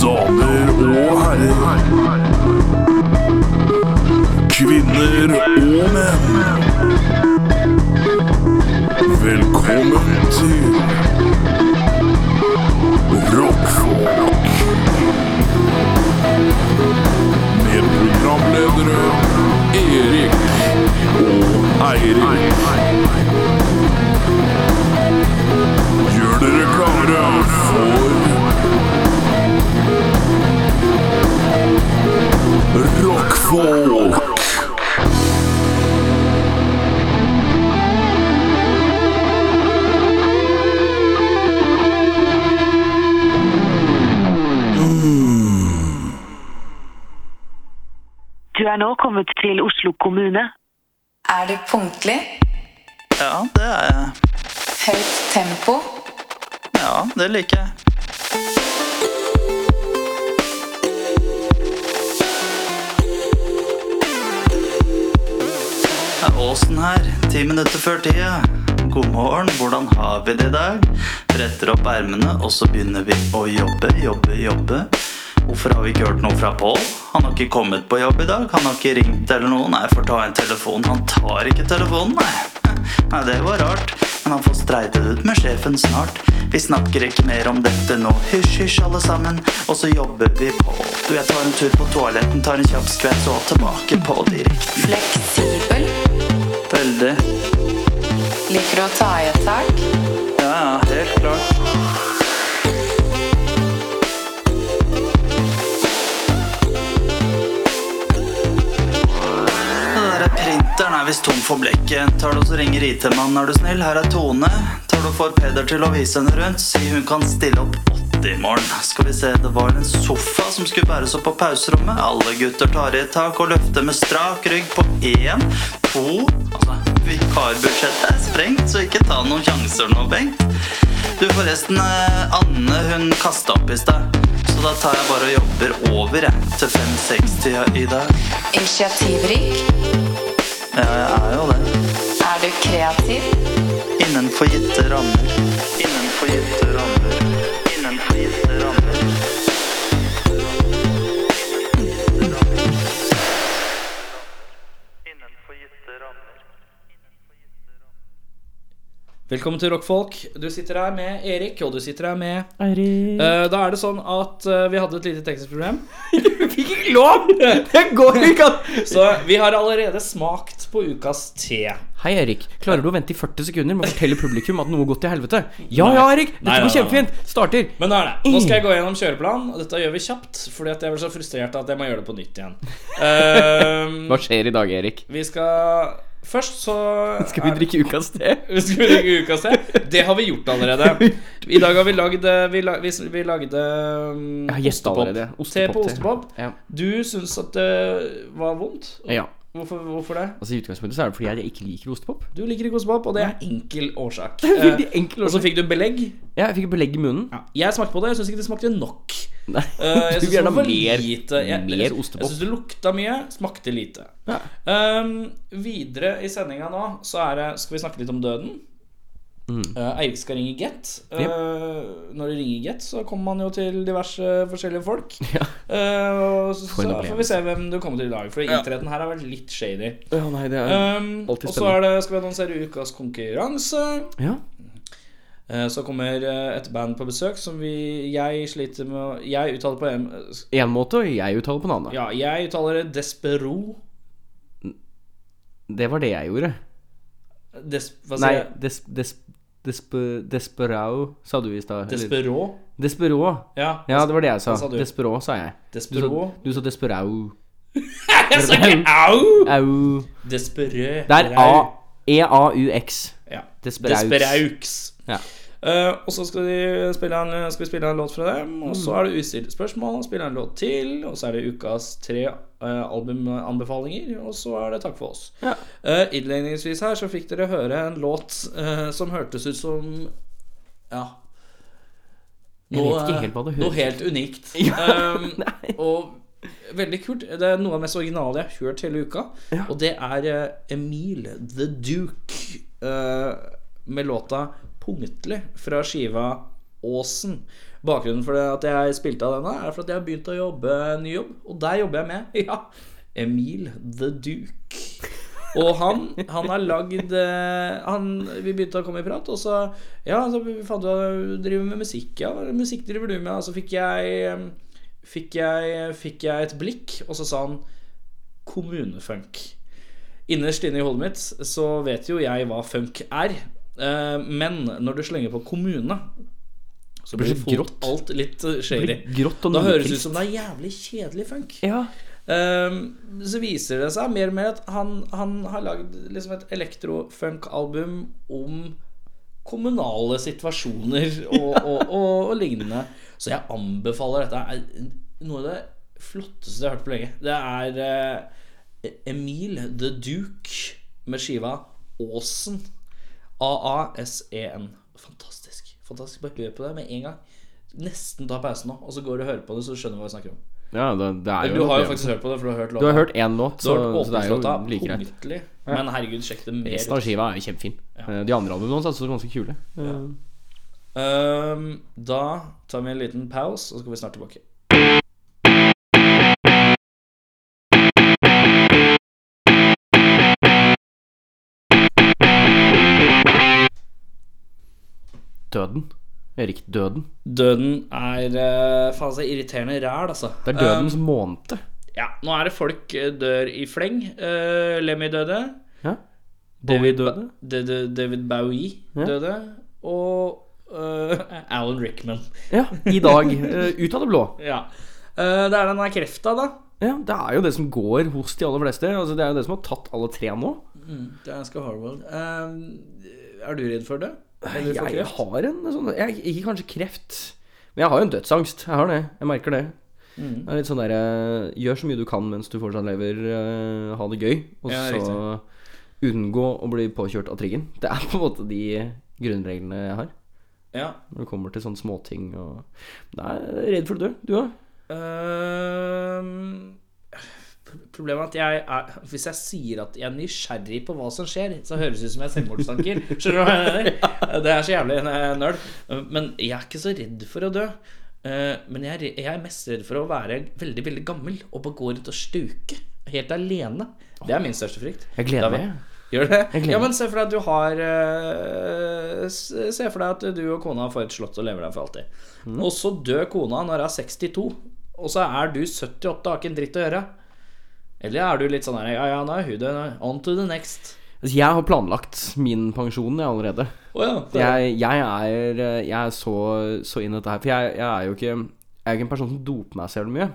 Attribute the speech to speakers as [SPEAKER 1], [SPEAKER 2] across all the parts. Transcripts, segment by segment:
[SPEAKER 1] Damer og herrer. Kvinner og menn. Velkommen til Rockfolk. Med programledere Erik og Eirik. Gjør dere klare for Rockfolk.
[SPEAKER 2] Du er nå kommet til Oslo kommune.
[SPEAKER 3] Er du punktlig?
[SPEAKER 4] Ja, det er jeg.
[SPEAKER 3] Høyt tempo?
[SPEAKER 4] Ja, det liker jeg. Det er Åsen her, ti minutter før tida. God morgen, hvordan har vi det i dag? Bretter opp ermene, og så begynner vi å jobbe, jobbe, jobbe. Hvorfor har vi ikke hørt noe fra Pål? Han har ikke kommet på jobb i dag. Han har ikke ringt eller noe. Nei, får ta en telefon. Han tar ikke telefonen, nei. Nei, det var rart. Men han får streite det ut med sjefen snart. Vi snakker ikke mer om dette nå. Hysj, hysj, alle sammen. Og så jobber vi på. Du, jeg tar en tur på toaletten, tar en kjapp skvett og tilbake på direkten.
[SPEAKER 3] Fleksibel?
[SPEAKER 4] Veldig.
[SPEAKER 3] Liker du å ta i et tak?
[SPEAKER 4] Ja, ja, helt klart. Den der printeren er visst tom for blekket. Tar du og så ringer IT-mannen, er du snill? Her er Tone. Tar du og får Peder til å vise henne rundt? Si hun kan stille opp 80 i morgen. Skal vi se, det var en sofa som skulle bæres opp på pauserommet. Alle gutter tar i et tak og løfter med strak rygg på én, to Altså, vikarbudsjettet er sprengt, så ikke ta noen sjanser nå, Bengt. Du, forresten, eh, Anne hun kasta opp i stad. Så da tar jeg bare og jobber over, jeg, til 5-6-tida i dag.
[SPEAKER 3] Initiativrik?
[SPEAKER 4] Ja, jeg er jo det.
[SPEAKER 3] Er du kreativ?
[SPEAKER 4] Innenfor gitte rammer. Innenfor gitte rammer. Innenfor gitte rammer.
[SPEAKER 5] Velkommen til Rockfolk. Du sitter her med Erik, og du sitter her med Eh, Da er det sånn at eh, vi hadde et lite teknisk problem. vi fikk ikke lov! Det går ikke Så vi har allerede smakt på ukas te.
[SPEAKER 6] Hei, Erik. Klarer du å vente i 40 sekunder med å fortelle publikum at noe går til helvete? Ja, ja, Erik. Dette
[SPEAKER 5] Nei, nei,
[SPEAKER 6] går
[SPEAKER 5] nei, nei.
[SPEAKER 6] kjempefint. Starter.
[SPEAKER 5] Men nå er det. Nå skal jeg gå gjennom kjøreplan. og Dette gjør vi kjapt, fordi at jeg ble så frustrert at jeg må gjøre det på nytt igjen. Eh,
[SPEAKER 6] Hva skjer i dag, Erik?
[SPEAKER 5] vi skal Først så
[SPEAKER 6] Skal vi
[SPEAKER 5] er-
[SPEAKER 6] drikke ukas te?
[SPEAKER 5] Vi skal vi drikke ukas te? Det har vi gjort allerede. I dag har vi lagd eh, Vi, la, vi, vi lagde um,
[SPEAKER 6] Jeg har gjetta allerede.
[SPEAKER 5] Te på
[SPEAKER 6] Ostepop-te.
[SPEAKER 5] ostepop.
[SPEAKER 6] Ja.
[SPEAKER 5] Du syns at det var vondt?
[SPEAKER 6] ja.
[SPEAKER 5] Hvorfor, hvorfor det?
[SPEAKER 6] Altså, I utgangspunktet så er det fordi jeg ikke liker ostepop.
[SPEAKER 5] Du liker ikke ostepop, og det er enkel årsak.
[SPEAKER 6] Det er veldig
[SPEAKER 5] Eh,
[SPEAKER 6] enkel
[SPEAKER 5] og så
[SPEAKER 6] årsak.
[SPEAKER 5] fikk du belegg.
[SPEAKER 6] Ja, jeg fikk belegg i munnen.
[SPEAKER 5] Jeg smakte på det, jeg syns ikke det smakte nok.
[SPEAKER 6] Nei,
[SPEAKER 5] Eh, jeg
[SPEAKER 6] du
[SPEAKER 5] synes
[SPEAKER 6] vil
[SPEAKER 5] det
[SPEAKER 6] gjerne
[SPEAKER 5] var
[SPEAKER 6] ha
[SPEAKER 5] for
[SPEAKER 6] mer,
[SPEAKER 5] lite. Jeg- jeg-
[SPEAKER 6] mer
[SPEAKER 5] Jeg
[SPEAKER 6] ostepop.
[SPEAKER 5] syns det lukta mye, smakte lite.
[SPEAKER 6] Ja.
[SPEAKER 5] Um, videre i sendinga nå så er det, skal vi snakke litt om døden.
[SPEAKER 6] Mm.
[SPEAKER 5] Eh, Eirik skal ringe Get. Eh, Når du ringer Get, så kommer man jo til diverse forskjellige folk.
[SPEAKER 6] Ja.
[SPEAKER 5] Eh, og så,
[SPEAKER 6] For en
[SPEAKER 5] så får vi se hvem du kommer til i dag, for internetten her har vært litt shady.
[SPEAKER 6] Å, nei, det Ehm, er
[SPEAKER 5] Um, og
[SPEAKER 6] Alltid
[SPEAKER 5] så er det, skal vi annonsere ukas konkurranse.
[SPEAKER 6] Ja.
[SPEAKER 5] Eh, Så kommer eh, et band på besøk som vi, jeg sliter med å- Jeg uttaler på en
[SPEAKER 6] Én måte, og jeg uttaler på en annen.
[SPEAKER 5] Ja, jeg uttaler det Despero.
[SPEAKER 6] Det var det jeg gjorde.
[SPEAKER 5] Des, hva
[SPEAKER 6] Nei,
[SPEAKER 5] sier Altså, jeg?
[SPEAKER 6] des, des, despe, desperao sa du i stad. eller-
[SPEAKER 5] Despero.
[SPEAKER 6] Desperå.
[SPEAKER 5] Ja.
[SPEAKER 6] Ja, det var det jeg sa.
[SPEAKER 5] Hva sa du?
[SPEAKER 6] Desperå, sa jeg. Du sa,
[SPEAKER 5] Despero.
[SPEAKER 6] du sa desperau.
[SPEAKER 5] Jeg sa ikke au!
[SPEAKER 6] Au.
[SPEAKER 5] Desperø.
[SPEAKER 6] Det er A E-A-U-X.
[SPEAKER 5] Ja.
[SPEAKER 6] Desperaux.
[SPEAKER 5] Desperaux.
[SPEAKER 6] Ja.
[SPEAKER 5] Eh, og så skal, de spille en, skal vi spille en låt fra dem, og
[SPEAKER 6] Mm.
[SPEAKER 5] så er det ustilte spørsmål, spille en låt til, og så er det ukas tre eh, albumanbefalinger, og så er det takk for oss.
[SPEAKER 6] Ja.
[SPEAKER 5] Eh, innledningsvis her så fikk dere høre en låt eh, som hørtes ut som ja
[SPEAKER 6] Jeg vet ikke helt hva det
[SPEAKER 5] Noe
[SPEAKER 6] høres
[SPEAKER 5] helt unikt. Um, og veldig kult. Det er noe av det mest originale jeg har hørt hele uka, og det er eh, Emil The Duke eh, med låta 'Punktlig' fra skiva Åsen. Bakgrunnen for det at jeg spilte av denne, er for at jeg har begynt å jobbe en ny jobb, og der jobber jeg med ja, Emil the Duke. Og han, han har lagd eh, han, Vi begynte å komme i prat, og så Ja, så fant vi ut driver med musikk. Ja, hva er det musikk driver du med? Og så fikk jeg, eh, fikk jeg Fikk jeg et blikk, og så sa han kommunefunk. Innerst inne i hodet mitt så vet jo jeg hva funk er. eh, Men når du slenger på kommune, så blir
[SPEAKER 6] Blir
[SPEAKER 5] det
[SPEAKER 6] det
[SPEAKER 5] fort
[SPEAKER 6] grått?
[SPEAKER 5] alt litt eh, shady.
[SPEAKER 6] Blir grått og
[SPEAKER 5] Da høres det
[SPEAKER 6] nitrist.
[SPEAKER 5] ut som det er jævlig kjedelig funk.
[SPEAKER 6] Ja.
[SPEAKER 5] Ehm, så viser det seg mer og mer at han, han har lagd liksom et elektrofunk-album om kommunale situasjoner og, og, og, og lignende. Så jeg anbefaler dette. Det er noe av det flotteste jeg har hørt på lenge. Det er eh, Emil The Duke med skiva Åsen. A-A-S-E-N. E Fantastisk. Fantastisk. Bare hør på det med en gang. Nesten ta pausen nå, og så går du og hører på det, så du skjønner hva vi snakker om.
[SPEAKER 6] ja det, det er jo
[SPEAKER 5] Du
[SPEAKER 6] en
[SPEAKER 5] har jo
[SPEAKER 6] opplevelse.
[SPEAKER 5] faktisk hørt på det, for du har hørt låta.
[SPEAKER 6] Du har hørt én låt,
[SPEAKER 5] Du
[SPEAKER 6] så,
[SPEAKER 5] har hørt
[SPEAKER 6] så det er jo
[SPEAKER 5] åpningslåta,
[SPEAKER 6] like greit.
[SPEAKER 5] punktlig. Men herregud, sjekk det mer
[SPEAKER 6] Resten av
[SPEAKER 5] ut.
[SPEAKER 6] skiva er jo kjempefin. Eh, De andre albumene hans er også ganske kule.
[SPEAKER 5] Ehm, da tar vi en liten pause, og så skal vi snart tilbake.
[SPEAKER 6] Døden. Erik Døden.
[SPEAKER 5] Døden er eh, faen så irriterende ræl, altså.
[SPEAKER 6] Det er dødens måned.
[SPEAKER 5] Ehm, ja, nå er det folk eh, dør i fleng. Eh, Lemmy døde.
[SPEAKER 6] Ja.
[SPEAKER 5] David,
[SPEAKER 6] døde.
[SPEAKER 5] Ba- D- D- David Bowie
[SPEAKER 6] Ja.
[SPEAKER 5] døde. Og eh, Alan Rickman.
[SPEAKER 6] Ja, i dag. eh, ut av det blå.
[SPEAKER 5] Ja. Eh, det er den der krefta, da.
[SPEAKER 6] Ja, Det er jo det som går hos de aller fleste. Altså, det er jo det som har tatt alle tre nå.
[SPEAKER 5] Det er ganske hardworld. Um, er du redd for det? Eller for
[SPEAKER 6] Jeg
[SPEAKER 5] kreft?
[SPEAKER 6] har en sånn jeg, Ikke kanskje kreft, men jeg har jo en dødsangst. Jeg har det. Jeg merker det. Det er litt sånn derre Gjør så mye du kan mens du fortsatt lever. eh, ha det gøy. Og
[SPEAKER 5] Ja,
[SPEAKER 6] så unngå å bli påkjørt av triggen. Det er på en måte de grunnreglene jeg har.
[SPEAKER 5] Ja.
[SPEAKER 6] Når det kommer til sånne småting og Nei, jeg er redd for å dø. Du òg?
[SPEAKER 5] Ehm, Problemet er at jeg er, hvis jeg sier at jeg er nysgjerrig på hva som skjer, så høres det ut som jeg har selvmordstanker. Skjønner du hva jeg mener? Det er så jævlig eh, nerd. Men jeg er ikke så redd for å dø. Eh, Men jeg er, re- jeg er mest redd for å være veldig veldig gammel og bare gå rundt og stuke. Helt alene. Det er min største frykt.
[SPEAKER 6] Jeg gleder
[SPEAKER 5] Da-
[SPEAKER 6] meg.
[SPEAKER 5] Gjør det?
[SPEAKER 6] Jeg gleder
[SPEAKER 5] Ja,
[SPEAKER 6] meg.
[SPEAKER 5] men se for deg at du har eh, s- Se for deg at du og kona får et slott og lever der for alltid.
[SPEAKER 6] Mm.
[SPEAKER 5] Og så dør kona når hun er 62, og så er du 78 og har ikke en dritt å gjøre. Eller er du litt sånn her Ja, ja, nå er hun død. nå. On to the next.
[SPEAKER 6] Altså, jeg har planlagt min pensjon jeg, allerede.
[SPEAKER 5] Å ja. det-
[SPEAKER 6] Jeg, jeg er, eh, jeg er så, så inn i dette her. For jeg, jeg er jo ikke Jeg er ikke en person som doper meg så jævlig mye.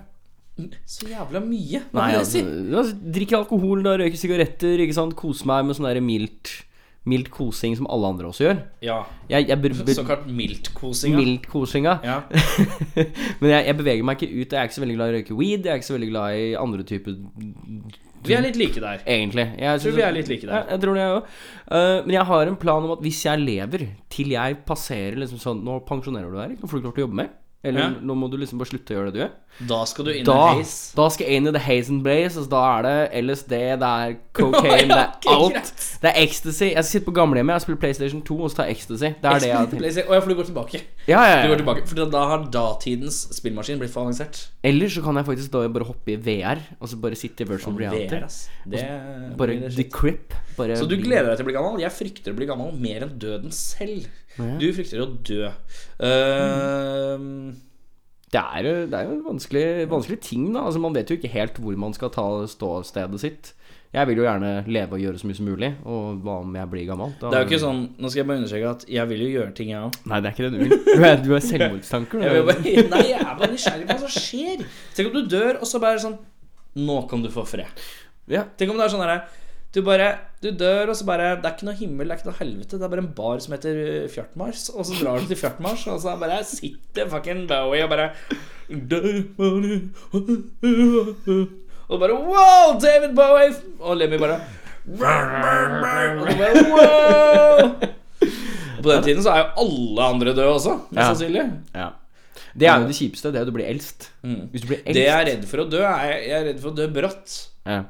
[SPEAKER 5] Så jævla mye. Hva
[SPEAKER 6] Nei,
[SPEAKER 5] vil jeg
[SPEAKER 6] altså,
[SPEAKER 5] si?
[SPEAKER 6] altså, drikker alkohol, da røyker sigaretter, ikke sant. Koser meg med sånn derre mildt Mildt kosing som alle andre også gjør.
[SPEAKER 5] Ja.
[SPEAKER 6] Jeg, jeg br- br-
[SPEAKER 5] Såkalt miltkosing. ja.
[SPEAKER 6] Mildt kosinga.
[SPEAKER 5] Ja.
[SPEAKER 6] Men jeg, jeg beveger meg ikke ut. Jeg er ikke så veldig glad i å røyke weed. Jeg er ikke så veldig glad i andre typer
[SPEAKER 5] Vi er litt like der.
[SPEAKER 6] Egentlig. Jeg
[SPEAKER 5] Tror vi er litt like der.
[SPEAKER 6] Ja, jeg tror det, jeg òg. Eh, men jeg har en plan om at hvis jeg lever til jeg passerer liksom sånn Nå pensjonerer du deg, Erik. Nå får du ikke lov til å jobbe mer. Eller
[SPEAKER 5] Ja.
[SPEAKER 6] nå må du liksom bare slutte å gjøre det du gjør.
[SPEAKER 5] Da skal du inn
[SPEAKER 6] Da,
[SPEAKER 5] i haze.
[SPEAKER 6] da skal jeg inn i the haze and blaze. Altså, da er det LSD, det er cocaine, det
[SPEAKER 5] Ja, ok,
[SPEAKER 6] er alt.
[SPEAKER 5] greit.
[SPEAKER 6] Det er ecstasy. Jeg skal sitte på gamlehjemmet, jeg spiller PlayStation 2 og så tar jeg ecstasy. Det er det jeg har tenkt.
[SPEAKER 5] Å ja, for du går tilbake.
[SPEAKER 6] Ja, ja,
[SPEAKER 5] Du går
[SPEAKER 6] ja.
[SPEAKER 5] tilbake. For da har datidens spillmaskin blitt for avansert.
[SPEAKER 6] Eller så kan jeg faktisk da bare hoppe i VR, og så bare sitte i virtual reality.
[SPEAKER 5] VR, ass. Det,
[SPEAKER 6] Bare
[SPEAKER 5] blir det
[SPEAKER 6] the
[SPEAKER 5] shit.
[SPEAKER 6] crip. Bare
[SPEAKER 5] Så du
[SPEAKER 6] bli-
[SPEAKER 5] gleder deg til å bli gammel? Jeg frykter å bli gammel mer enn døden selv.
[SPEAKER 6] Ja.
[SPEAKER 5] Du frykter å dø. Ehm,
[SPEAKER 6] Det er, jo- det er jo en vanskelig, vanskelig ting, da. Altså, man vet jo ikke helt hvor man skal ta ståstedet sitt. Jeg vil jo gjerne leve og gjøre så mye som mulig, og hva om jeg blir gammel? Da-
[SPEAKER 5] det er jo ikke sånn Nå skal jeg bare understreke at jeg vil jo gjøre ting, jeg òg.
[SPEAKER 6] Nei, det er ikke det du vil. Du er, du er selvmordstanker.
[SPEAKER 5] Jeg vil
[SPEAKER 6] Du.
[SPEAKER 5] bare- Nei, jeg er bare nysgjerrig på hva som skjer. Tenk om du dør, og så bare sånn Nå kan du få fred.
[SPEAKER 6] Ja.
[SPEAKER 5] Tenk om det er sånn herre du bare, du dør, og så bare Det er ikke noe himmel, det er ikke noe helvete. Det er bare en bar som heter uh, Fjartmars, og så drar du til Fjartmars, og så bare sitter fucking Bowie og bare Og bare Wow, David Bowie! Og Lemmy bare Og du bare Wow! Og på den tiden så er jo alle andre døde også, mest
[SPEAKER 6] Ja.
[SPEAKER 5] sannsynlig.
[SPEAKER 6] Ja. Det er jo det kjipeste, det er at du blir eldst. Hvis du blir eldst
[SPEAKER 5] Eh, mm. Det jeg er redd for å dø, er jeg er redd for å dø brått.
[SPEAKER 6] ja.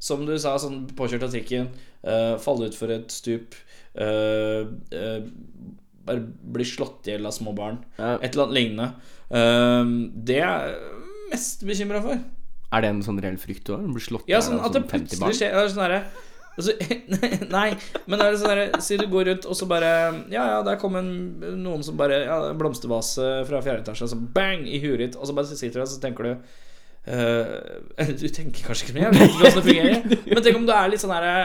[SPEAKER 5] Som du sa, sånn påkjørt av trikken, eh, falle utfor et stup, eh, eh, bare blir slått i hjel av små barn.
[SPEAKER 6] Ja.
[SPEAKER 5] Et eller annet lignende. Ehm, det er jeg mest bekymra for.
[SPEAKER 6] Er det en sånn reell frykt du har? Blir slått
[SPEAKER 5] Ja,
[SPEAKER 6] ihjel
[SPEAKER 5] sånn
[SPEAKER 6] av
[SPEAKER 5] at det
[SPEAKER 6] sånn 50 barn?
[SPEAKER 5] plutselig skjer det er sånn herre altså, Nei, men det er sånn herre Si du går rundt, og så bare Ja, ja, der kom en, noen som bare ja, en Blomstervase fra fjerde etasje, og så bang i huet ditt, og så bare sitter du der, og så tenker du eh, Du tenker kanskje ikke så mye, jeg vet ikke hvordan det fungerer, men tenk om du er litt sånn herre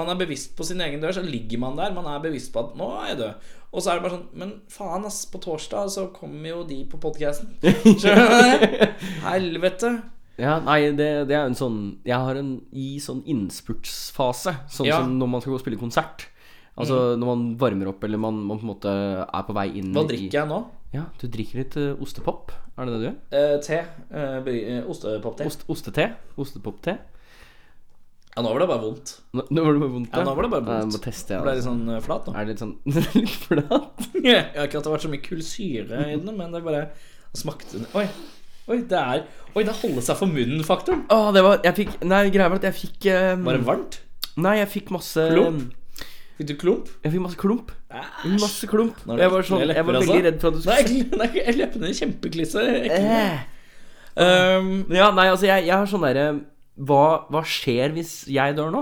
[SPEAKER 5] man er bevisst på sin egen dør, så ligger man der. Man er bevisst på at 'nå er jeg død'. Og så er det bare sånn Men faen, ass. På torsdag så kommer jo de på podkasten. Helvete.
[SPEAKER 6] Ja, nei, det, det er jo en sånn Jeg har en i sånn innspurtsfase. Sånn
[SPEAKER 5] Ja. Mm.
[SPEAKER 6] som når man skal gå og spille konsert. Altså når man varmer opp, eller man, man på en måte er på vei inn
[SPEAKER 5] Hva drikker jeg nå?
[SPEAKER 6] i Ja, Du drikker litt eh, ostepop? Er det det du gjør?
[SPEAKER 5] Eh, te. Uh, Ostepopte.
[SPEAKER 6] Ost, ostete? Ostepopte?
[SPEAKER 5] Ja, nå var det bare vondt.
[SPEAKER 6] Nå, nå var det bare vondt.
[SPEAKER 5] Ja, nå var det bare
[SPEAKER 6] Nei, jeg
[SPEAKER 5] vondt.
[SPEAKER 6] må teste,
[SPEAKER 5] Det
[SPEAKER 6] jeg.
[SPEAKER 5] ble litt
[SPEAKER 6] Altså.
[SPEAKER 5] sånn eh, flat nå.
[SPEAKER 6] Er det litt sånn litt flat?
[SPEAKER 5] Jeg har ikke at det har vært så mye kullsyre i den, men det bare det smakte Oi. Oi, det er Oi, det holder seg for munnen-faktoren.
[SPEAKER 6] Å, det var Jeg fikk Nei, greia var at jeg fikk eh,
[SPEAKER 5] Var det varmt?
[SPEAKER 6] Nei, jeg fikk masse
[SPEAKER 5] Klump? Fikk du klump?
[SPEAKER 6] Jeg fikk masse klump.
[SPEAKER 5] Æsj.
[SPEAKER 6] Masse klump.
[SPEAKER 5] Nå er det
[SPEAKER 6] Jeg var,
[SPEAKER 5] ekle
[SPEAKER 6] sånn, jeg var
[SPEAKER 5] lepper,
[SPEAKER 6] veldig
[SPEAKER 5] altså.
[SPEAKER 6] redd for at du
[SPEAKER 5] Nei,
[SPEAKER 6] skulle
[SPEAKER 5] ekle- nei, ekle- leppene er kjempeklisse. Ekle.
[SPEAKER 6] Eh.
[SPEAKER 5] Um,
[SPEAKER 6] Ja, nei, altså jeg, jeg har sånn derre hva, hva skjer hvis jeg dør nå?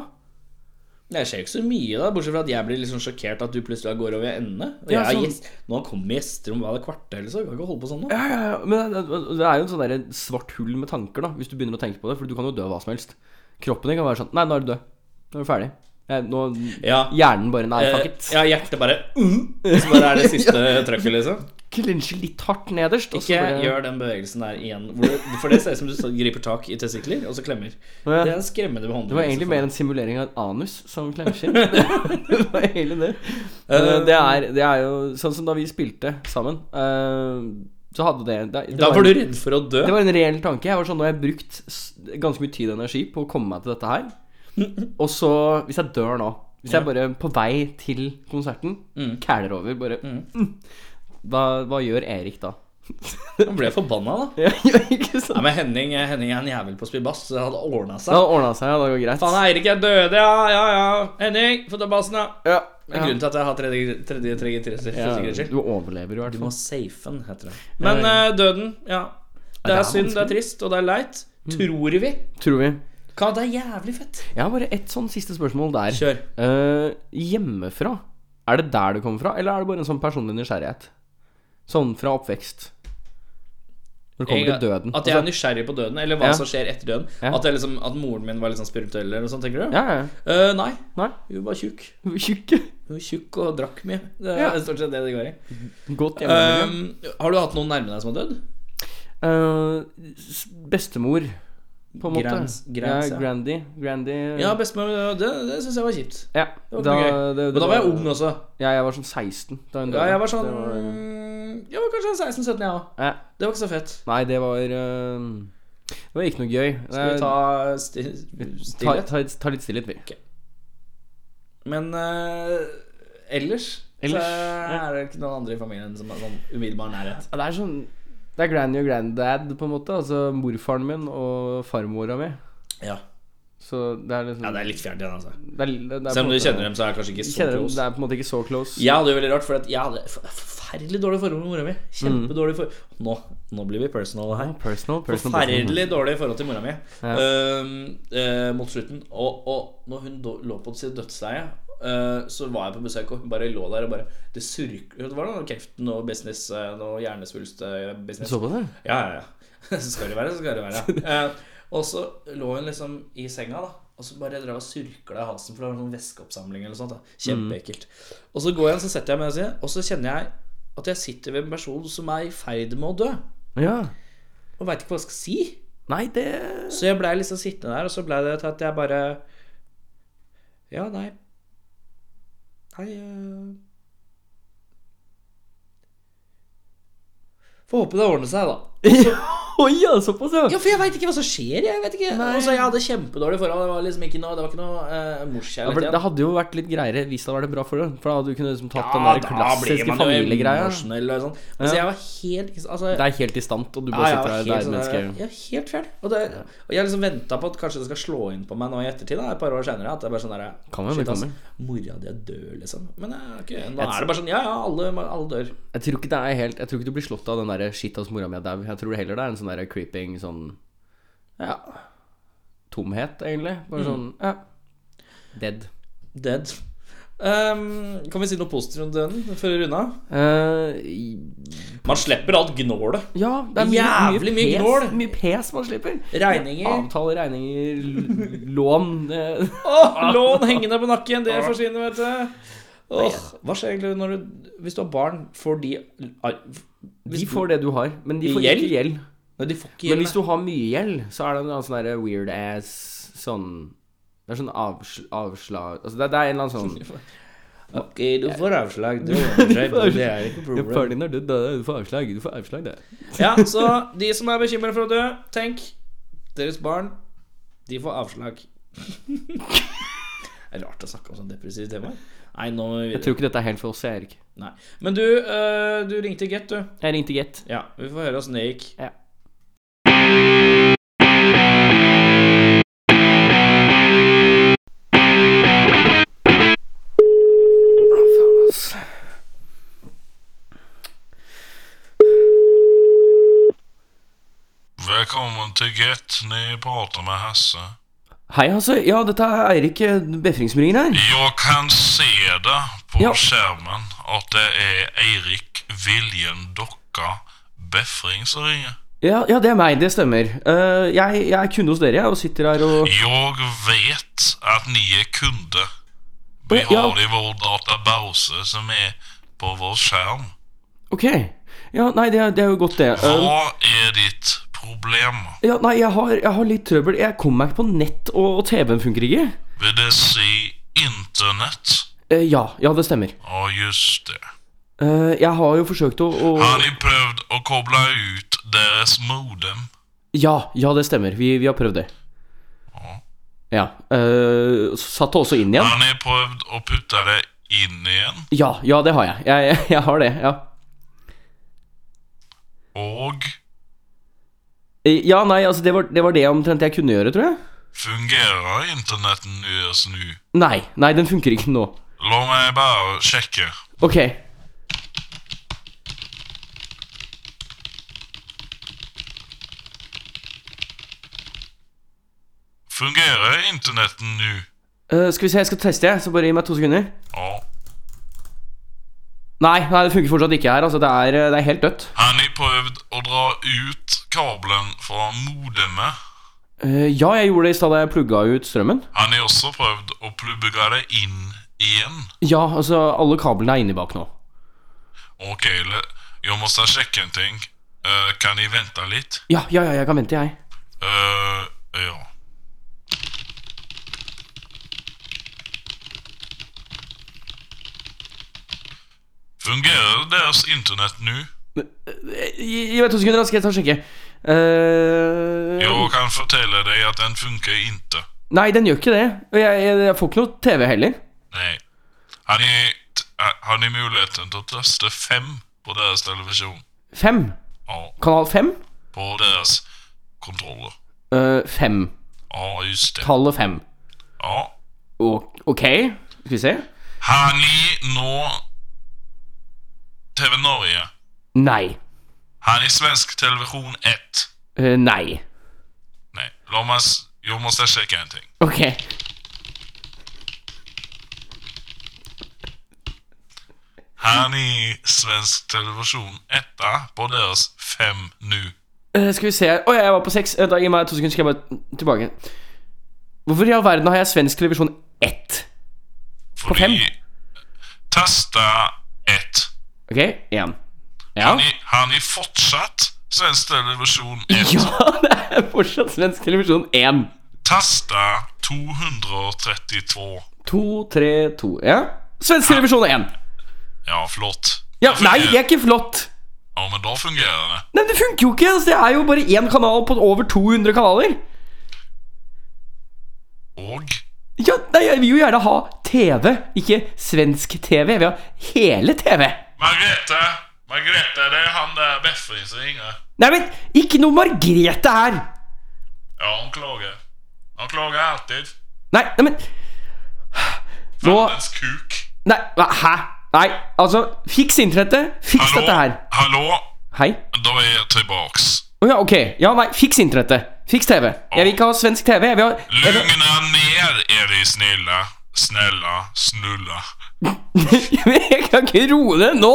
[SPEAKER 5] det skjer jo ikke så mye, da bortsett fra at jeg blir litt sånn sjokkert at du plutselig går over ende. Og
[SPEAKER 6] Ja,
[SPEAKER 5] jeg er
[SPEAKER 6] sånn.
[SPEAKER 5] gjest. Nå kommer gjester om hva det kvarter, eller så. Jeg kan ikke holde på sånn nå.
[SPEAKER 6] Ja, ja, ja, Men det, det- det er jo en sånn derre svart hull med tanker, da, hvis du begynner å tenke på det. For du kan jo dø av hva som helst. Kroppen din kan være sånn Nei, nå er du død. Nå er du ferdig. Eh, Nå,
[SPEAKER 5] Ja.
[SPEAKER 6] Hjernen bare Nei, fuck
[SPEAKER 5] Eh,
[SPEAKER 6] it.
[SPEAKER 5] ja, hjertet bare mm, og Så bare er det siste trøkket, liksom.
[SPEAKER 6] Klinsje litt hardt nederst. og så
[SPEAKER 5] Ikke
[SPEAKER 6] bare-
[SPEAKER 5] gjør den bevegelsen der igjen. Hvor du, for det ser ut som du så- griper tak i testikler, og så klemmer.
[SPEAKER 6] Ja.
[SPEAKER 5] Det er en skremmende behandling.
[SPEAKER 6] Det var egentlig mer en simulering av et anus som klemskinn. det var egentlig det. Eh, Det er, det er jo sånn som da vi spilte sammen, eh, så hadde det, det, det
[SPEAKER 5] Da var du redd for å dø?
[SPEAKER 6] Det var en reell tanke. Jeg var sånn, Nå har jeg brukt s- ganske mye tid og energi på å komme meg til dette her. Og så, hvis jeg dør nå Hvis jeg bare på vei til konserten kæler over bare mm, hva, hva gjør Erik da?
[SPEAKER 5] Han ble forbanna, da.
[SPEAKER 6] Ja, ikke
[SPEAKER 5] Nei,
[SPEAKER 6] sant?
[SPEAKER 5] men Henning, eh, Henning er en jævel på å spille bass, så det hadde ordna
[SPEAKER 6] Da
[SPEAKER 5] seg.
[SPEAKER 6] ordna seg, ja. Det går greit.
[SPEAKER 5] Faen, Eirik er døde, ja, ja, ja. Henning, få ta bassen, da.
[SPEAKER 6] ja,
[SPEAKER 5] Det er grunnen til at jeg har tredje, tredje, tredje, tredje, tredje,
[SPEAKER 6] ja,
[SPEAKER 5] tredje.
[SPEAKER 6] Du overlever i hvert
[SPEAKER 5] Du må
[SPEAKER 6] fall.
[SPEAKER 5] safe den, heter det. Men eh, døden, ja. Det
[SPEAKER 6] det er
[SPEAKER 5] er synd, det er
[SPEAKER 6] vanskelig. Mm.
[SPEAKER 5] trist, og det er leit. Tror vi.
[SPEAKER 6] Tror vi.
[SPEAKER 5] Hva, det er jævlig fett.
[SPEAKER 6] Jeg har bare ett sånn siste spørsmål der.
[SPEAKER 5] Kjør.
[SPEAKER 6] Eh, hjemmefra, er det der du kommer fra, eller er det bare en sånn personlig nysgjerrighet? Sånn fra oppvekst. Når det kommer
[SPEAKER 5] Jeg-
[SPEAKER 6] til døden.
[SPEAKER 5] At jeg er
[SPEAKER 6] Altså-
[SPEAKER 5] nysgjerrig på døden, eller hva
[SPEAKER 6] Ja.
[SPEAKER 5] som skjer etter døden.
[SPEAKER 6] Ja.
[SPEAKER 5] At, jeg liksom, at moren min var litt sånn spirituell eller noe sånt, tenker du?
[SPEAKER 6] ja, ja.
[SPEAKER 5] Eh, nei,
[SPEAKER 6] Nei.
[SPEAKER 5] hun var tjukk.
[SPEAKER 6] Tjukke.
[SPEAKER 5] Hun var tjukk og drakk mye. Det er
[SPEAKER 6] Ja.
[SPEAKER 5] stort sett det det går i.
[SPEAKER 6] Godt hjemmemiljø.
[SPEAKER 5] Um, har du hatt noen nærme deg som har dødd?
[SPEAKER 6] Eh, s- bestemor, på en måte.
[SPEAKER 5] Grands- grands,
[SPEAKER 6] ja,
[SPEAKER 5] ja.
[SPEAKER 6] Grandy. Grandy eh,
[SPEAKER 5] Ja, bestemor. Det, det syns jeg var kjipt.
[SPEAKER 6] ja,
[SPEAKER 5] Det var
[SPEAKER 6] da,
[SPEAKER 5] ikke noe gøy.
[SPEAKER 6] det, det
[SPEAKER 5] Men da var jeg ung også.
[SPEAKER 6] Ja, jeg var sånn 16 da hun
[SPEAKER 5] Ja, jeg var
[SPEAKER 6] Det
[SPEAKER 5] sånn
[SPEAKER 6] var-
[SPEAKER 5] Jeg var kanskje 16-17, jeg òg.
[SPEAKER 6] ja.
[SPEAKER 5] Det var ikke så fett.
[SPEAKER 6] Nei, det var eh, Det var ikke noe gøy. Eh,
[SPEAKER 5] Skal vi ta sti
[SPEAKER 6] ta,
[SPEAKER 5] stillhet?
[SPEAKER 6] ta, ta litt stillhet, vi.
[SPEAKER 5] Men eh, ellers,
[SPEAKER 6] Ellers,
[SPEAKER 5] så
[SPEAKER 6] ja.
[SPEAKER 5] er det ikke noen andre i familien som er sånn umiddelbar nærhet.
[SPEAKER 6] Ja, det er sånn Det er granny og granddad, på en måte. Altså morfaren min og farmora mi.
[SPEAKER 5] Ja,
[SPEAKER 6] Så det er liksom
[SPEAKER 5] ja det er litt fjernt igjen, altså.
[SPEAKER 6] det er- det er på
[SPEAKER 5] Selv
[SPEAKER 6] en
[SPEAKER 5] om du
[SPEAKER 6] måte-
[SPEAKER 5] kjenner dem, så er det kanskje ikke så
[SPEAKER 6] kjenner dem,
[SPEAKER 5] close.
[SPEAKER 6] Det er på en måte ikke så close.
[SPEAKER 5] Jeg hadde jo veldig rart, for at jeg hadde f- forferdelig dårlig forhold med mora mi.
[SPEAKER 6] Mm.
[SPEAKER 5] Kjempedårlig for... Nå, nå blir vi personal her.
[SPEAKER 6] Personal, personal, personal.
[SPEAKER 5] Forferdelig dårlig forhold til mora mi
[SPEAKER 6] Ja.
[SPEAKER 5] Øhm, eh, mot slutten. Og, og når hun da- lå på sitt dødsleie, eh, så var jeg på besøk, og hun bare lå der og bare Det surk... Det var noe kreft, noe business, eh, noe hjernesvulst-business.
[SPEAKER 6] Så på det?
[SPEAKER 5] Ja, ja, ja. Så skal det være, så skal det være. ja. Eh, og så lå hun liksom i senga, da. Og så bare drev og surkla i halsen, for det var en sånn væskeoppsamling eller noe sånt. da Kjempeekkelt. Og så går jeg inn, så setter jeg meg ned, og så kjenner jeg at jeg sitter ved en person som er i ferd med å dø.
[SPEAKER 6] Ja.
[SPEAKER 5] Og veit ikke hva jeg skal si.
[SPEAKER 6] Nei, det
[SPEAKER 5] Så jeg blei liksom sittende der, og så blei det til at jeg bare Ja, nei Nei eh, Får håpe det ordner seg, da. Og så,
[SPEAKER 6] Oi, ja, såpass, ja.
[SPEAKER 5] Ja, for jeg veit ikke hva som skjer. Jeg vet ikke Altså, jeg hadde kjempedårlig forhold. Det var liksom ikke noe, det var ikke noe eh,
[SPEAKER 6] Ja, for
[SPEAKER 5] morskjærlighet.
[SPEAKER 6] det, det hadde jo vært litt greiere hvis det hadde vært bra for deg. For da hadde du kunnet liksom tatt
[SPEAKER 5] Ja,
[SPEAKER 6] den der klassiske familiegreia.
[SPEAKER 5] emosjonell og sånn.
[SPEAKER 6] Ja.
[SPEAKER 5] Men så jeg var helt ikke- altså,
[SPEAKER 6] Det er helt distant, og du
[SPEAKER 5] ja,
[SPEAKER 6] bare
[SPEAKER 5] jeg
[SPEAKER 6] sitter
[SPEAKER 5] var
[SPEAKER 6] der. Det er
[SPEAKER 5] helt
[SPEAKER 6] et menneske.
[SPEAKER 5] sånn der- ja, helt fjern. Og, det, og jeg liksom venta på at kanskje det skal slå inn på meg nå i ettertid, da, et par år senere. At det er bare sånn der
[SPEAKER 6] Kan jo,
[SPEAKER 5] shit,
[SPEAKER 6] det
[SPEAKER 5] ass,
[SPEAKER 6] kommer.
[SPEAKER 5] Mora di er død, liksom. Men jeg, har ikke- nå er det bare sånn Ja, ja, alle, alle dør.
[SPEAKER 6] Jeg tror ikke det er helt Jeg tror ikke du blir slått av den der shit ass mora mi er dau. Jeg tror heller det er en sånn der creeping sånn Ja Tomhet, egentlig. Bare sånn
[SPEAKER 5] Mm.
[SPEAKER 6] ja. Dead.
[SPEAKER 5] Dead. Um, kan vi si noe positivt om døden før vi runder av?
[SPEAKER 6] Eh, i-
[SPEAKER 5] Man slipper alt gnålet.
[SPEAKER 6] ja, det er mye,
[SPEAKER 5] Jævlig mye
[SPEAKER 6] pes,
[SPEAKER 5] gnål.
[SPEAKER 6] Mye pes man slipper.
[SPEAKER 5] Regninger.
[SPEAKER 6] Avtale, regninger, l- lån eh, det-
[SPEAKER 5] Åh, lån hengende på nakken, det forsvinner, vet du. Åh, hva skjer egentlig når du Hvis du har barn, får de
[SPEAKER 6] De får det du har, men de får
[SPEAKER 5] Gjeld?
[SPEAKER 6] ikke gjeld.
[SPEAKER 5] Nei, de får ikke
[SPEAKER 6] Men
[SPEAKER 5] gjeld.
[SPEAKER 6] hvis du har mye gjeld, så er det en eller annen sånn der weird ass sånn Det er sånn avsl avslag Altså, det, det er en eller annen sånn
[SPEAKER 5] Ok, du får avslag. Du ordner
[SPEAKER 6] får
[SPEAKER 5] deg, det er ikke noe problem.
[SPEAKER 6] din er død, du får avslag. Du får avslag, det.
[SPEAKER 5] Ja, så de som er bekymret for å dø, tenk deres barn, de får avslag. Det er rart å snakke om sånn depressive temaer. Nei, nå må vi
[SPEAKER 6] Jeg tror
[SPEAKER 5] videre.
[SPEAKER 6] ikke dette er helt for oss, jeg, Erik.
[SPEAKER 5] Nei. Men du, øh, du ringte Get, du.
[SPEAKER 6] Jeg ringte Get.
[SPEAKER 5] Ja, vi får høre åssen det gikk.
[SPEAKER 6] Ja.
[SPEAKER 1] Velkommen til Get. Ni prater med Hasse.
[SPEAKER 6] Hei, altså. Ja, dette er Eirik eh, Befringsmringen her.
[SPEAKER 1] Jeg kan se det på
[SPEAKER 6] Ja.
[SPEAKER 1] skjermen at det er Eirik Viljen Dokka Befring som ringer.
[SPEAKER 6] Ja, ja, det er meg. Det stemmer. Eh, jeg, jeg er kunde hos dere, jeg, og sitter her og
[SPEAKER 1] Jeg vet at ni er kunde. Vi
[SPEAKER 6] Ja.
[SPEAKER 1] har det i vår database som er på vår skjerm.
[SPEAKER 6] Ok. Ja, nei, det er, det er jo godt, det. Eh,
[SPEAKER 1] Hva er ditt problem?
[SPEAKER 6] ja, nei, jeg har, jeg har litt trøbbel. Jeg kommer meg ikke på nett, og, og TV-en funker ikke.
[SPEAKER 1] Vil det si internett?
[SPEAKER 6] Eh, ja, ja, det stemmer.
[SPEAKER 1] Ja, just det.
[SPEAKER 6] Eh, jeg har jo forsøkt å, å
[SPEAKER 1] Har ni prøvd å koble ut deres modem?
[SPEAKER 6] Ja, ja, det stemmer. Vi, vi har prøvd det. Ja. eh, satt det også inn igjen?
[SPEAKER 1] Har ni prøvd å putte det inn igjen?
[SPEAKER 6] Ja, ja, det har jeg. Jeg, jeg, jeg har det, ja.
[SPEAKER 1] Og
[SPEAKER 6] Eh, Ja, nei, altså, det var det, var det omtrent jeg kunne gjøre, tror jeg.
[SPEAKER 1] fungerer internetten deres nå?
[SPEAKER 6] Nei, nei, den funker ikke nå.
[SPEAKER 1] La meg bare sjekke.
[SPEAKER 6] Ok. Eh,
[SPEAKER 1] Fungerer internetten nå?
[SPEAKER 6] Eh, skal vi se, jeg skal teste, jeg. Så bare gi meg to sekunder.
[SPEAKER 1] Ja.
[SPEAKER 6] Nei, nei, det funker fortsatt ikke her. Altså, det er, eh, det er helt dødt.
[SPEAKER 1] Har ni prøvd å dra ut kabelen fra modemet?
[SPEAKER 6] Eh, ja, jeg gjorde det i stad da jeg plugga ut strømmen.
[SPEAKER 1] Har ni også prøvd å plugge det inn igjen?
[SPEAKER 6] Ja, altså, alle kablene er inni bak nå.
[SPEAKER 1] Ok, le- jeg måste sjekke en ting. Eh, kan ni vente litt?
[SPEAKER 6] Ja, ja, ja, jeg kan vente, jeg.
[SPEAKER 1] Eh, ja. Fungerer deres internett nå?
[SPEAKER 6] Eh, Gi gi meg to sekunder, da skal jeg ta og sjekke. Eh,
[SPEAKER 1] Jeg kan fortelle deg at den funker ikke.
[SPEAKER 6] Nei, den gjør ikke det. Og jeg, jeg, jeg får ikke noe TV heller.
[SPEAKER 1] Nei. Har ni, t- har ni muligheten til å taste fem på deres televisjon?
[SPEAKER 6] Fem.
[SPEAKER 1] Ja,
[SPEAKER 6] Kanal fem?
[SPEAKER 1] på deres kontroller.
[SPEAKER 6] Øh, fem.
[SPEAKER 1] Ja, just det.
[SPEAKER 6] Tallet fem.
[SPEAKER 1] Ja.
[SPEAKER 6] Og, ok, skal vi se.
[SPEAKER 1] Har ni nå TV Norge?
[SPEAKER 6] Nei.
[SPEAKER 1] Har ni svensk televisjon 1?
[SPEAKER 6] Øh, nei.
[SPEAKER 1] Nei, la meg s- Jeg må sjekke en ting.
[SPEAKER 6] Ok. Eh,
[SPEAKER 1] Har ni svensk televisjon 1 på deres fem nå?
[SPEAKER 6] Øh, skal vi se Å, jeg var på seks. Øh, da, gi meg to sekunder, skal jeg bare tilbake. Hvorfor i all verden har jeg svensk televisjon ett? fem?
[SPEAKER 1] Fordi Tasta 1.
[SPEAKER 6] Ok, én. Ja.
[SPEAKER 1] Har ni- Har ni fortsatt svensk televisjon 1?
[SPEAKER 6] Ja, det er fortsatt svensk televisjon én.
[SPEAKER 1] Tasta 232.
[SPEAKER 6] To, tre, to. Ja. Svensk televisjon én.
[SPEAKER 1] Ja, flott.
[SPEAKER 6] Ja, nei, jeg er ikke flott.
[SPEAKER 1] Ja, men da fungerer det.
[SPEAKER 6] Nei, det funker jo ikke! Altså, det er jo bare én kanal på over 200 kanaler.
[SPEAKER 1] Og
[SPEAKER 6] Ja, nei, jeg vil jo gjerne ha TV, ikke svensk TV. Jeg vil ha hele TV.
[SPEAKER 1] Margrethe! Margrethe, det er han der Befring som ringer.
[SPEAKER 6] Nei, men ikke noe Margrethe her!
[SPEAKER 1] Ja, han klager. Han klager alltid.
[SPEAKER 6] Nei, nei, men Nå
[SPEAKER 1] Fandens kuk.
[SPEAKER 6] Nei, hva- hæ? Nei, altså, fiks internettet. Fiks
[SPEAKER 1] Hallo?
[SPEAKER 6] dette her.
[SPEAKER 1] Hallo?
[SPEAKER 6] Hei.
[SPEAKER 1] Da er jeg tilbaks.
[SPEAKER 6] Å ja, ok. Ja, nei, fiks internettet. Fiks TV. Jeg vil ikke ha svensk TV. Jeg vil ha jeg vil,
[SPEAKER 1] Lugna ned, er de snille. Snälla, snulla.
[SPEAKER 6] jeg kan ikke roe det nå!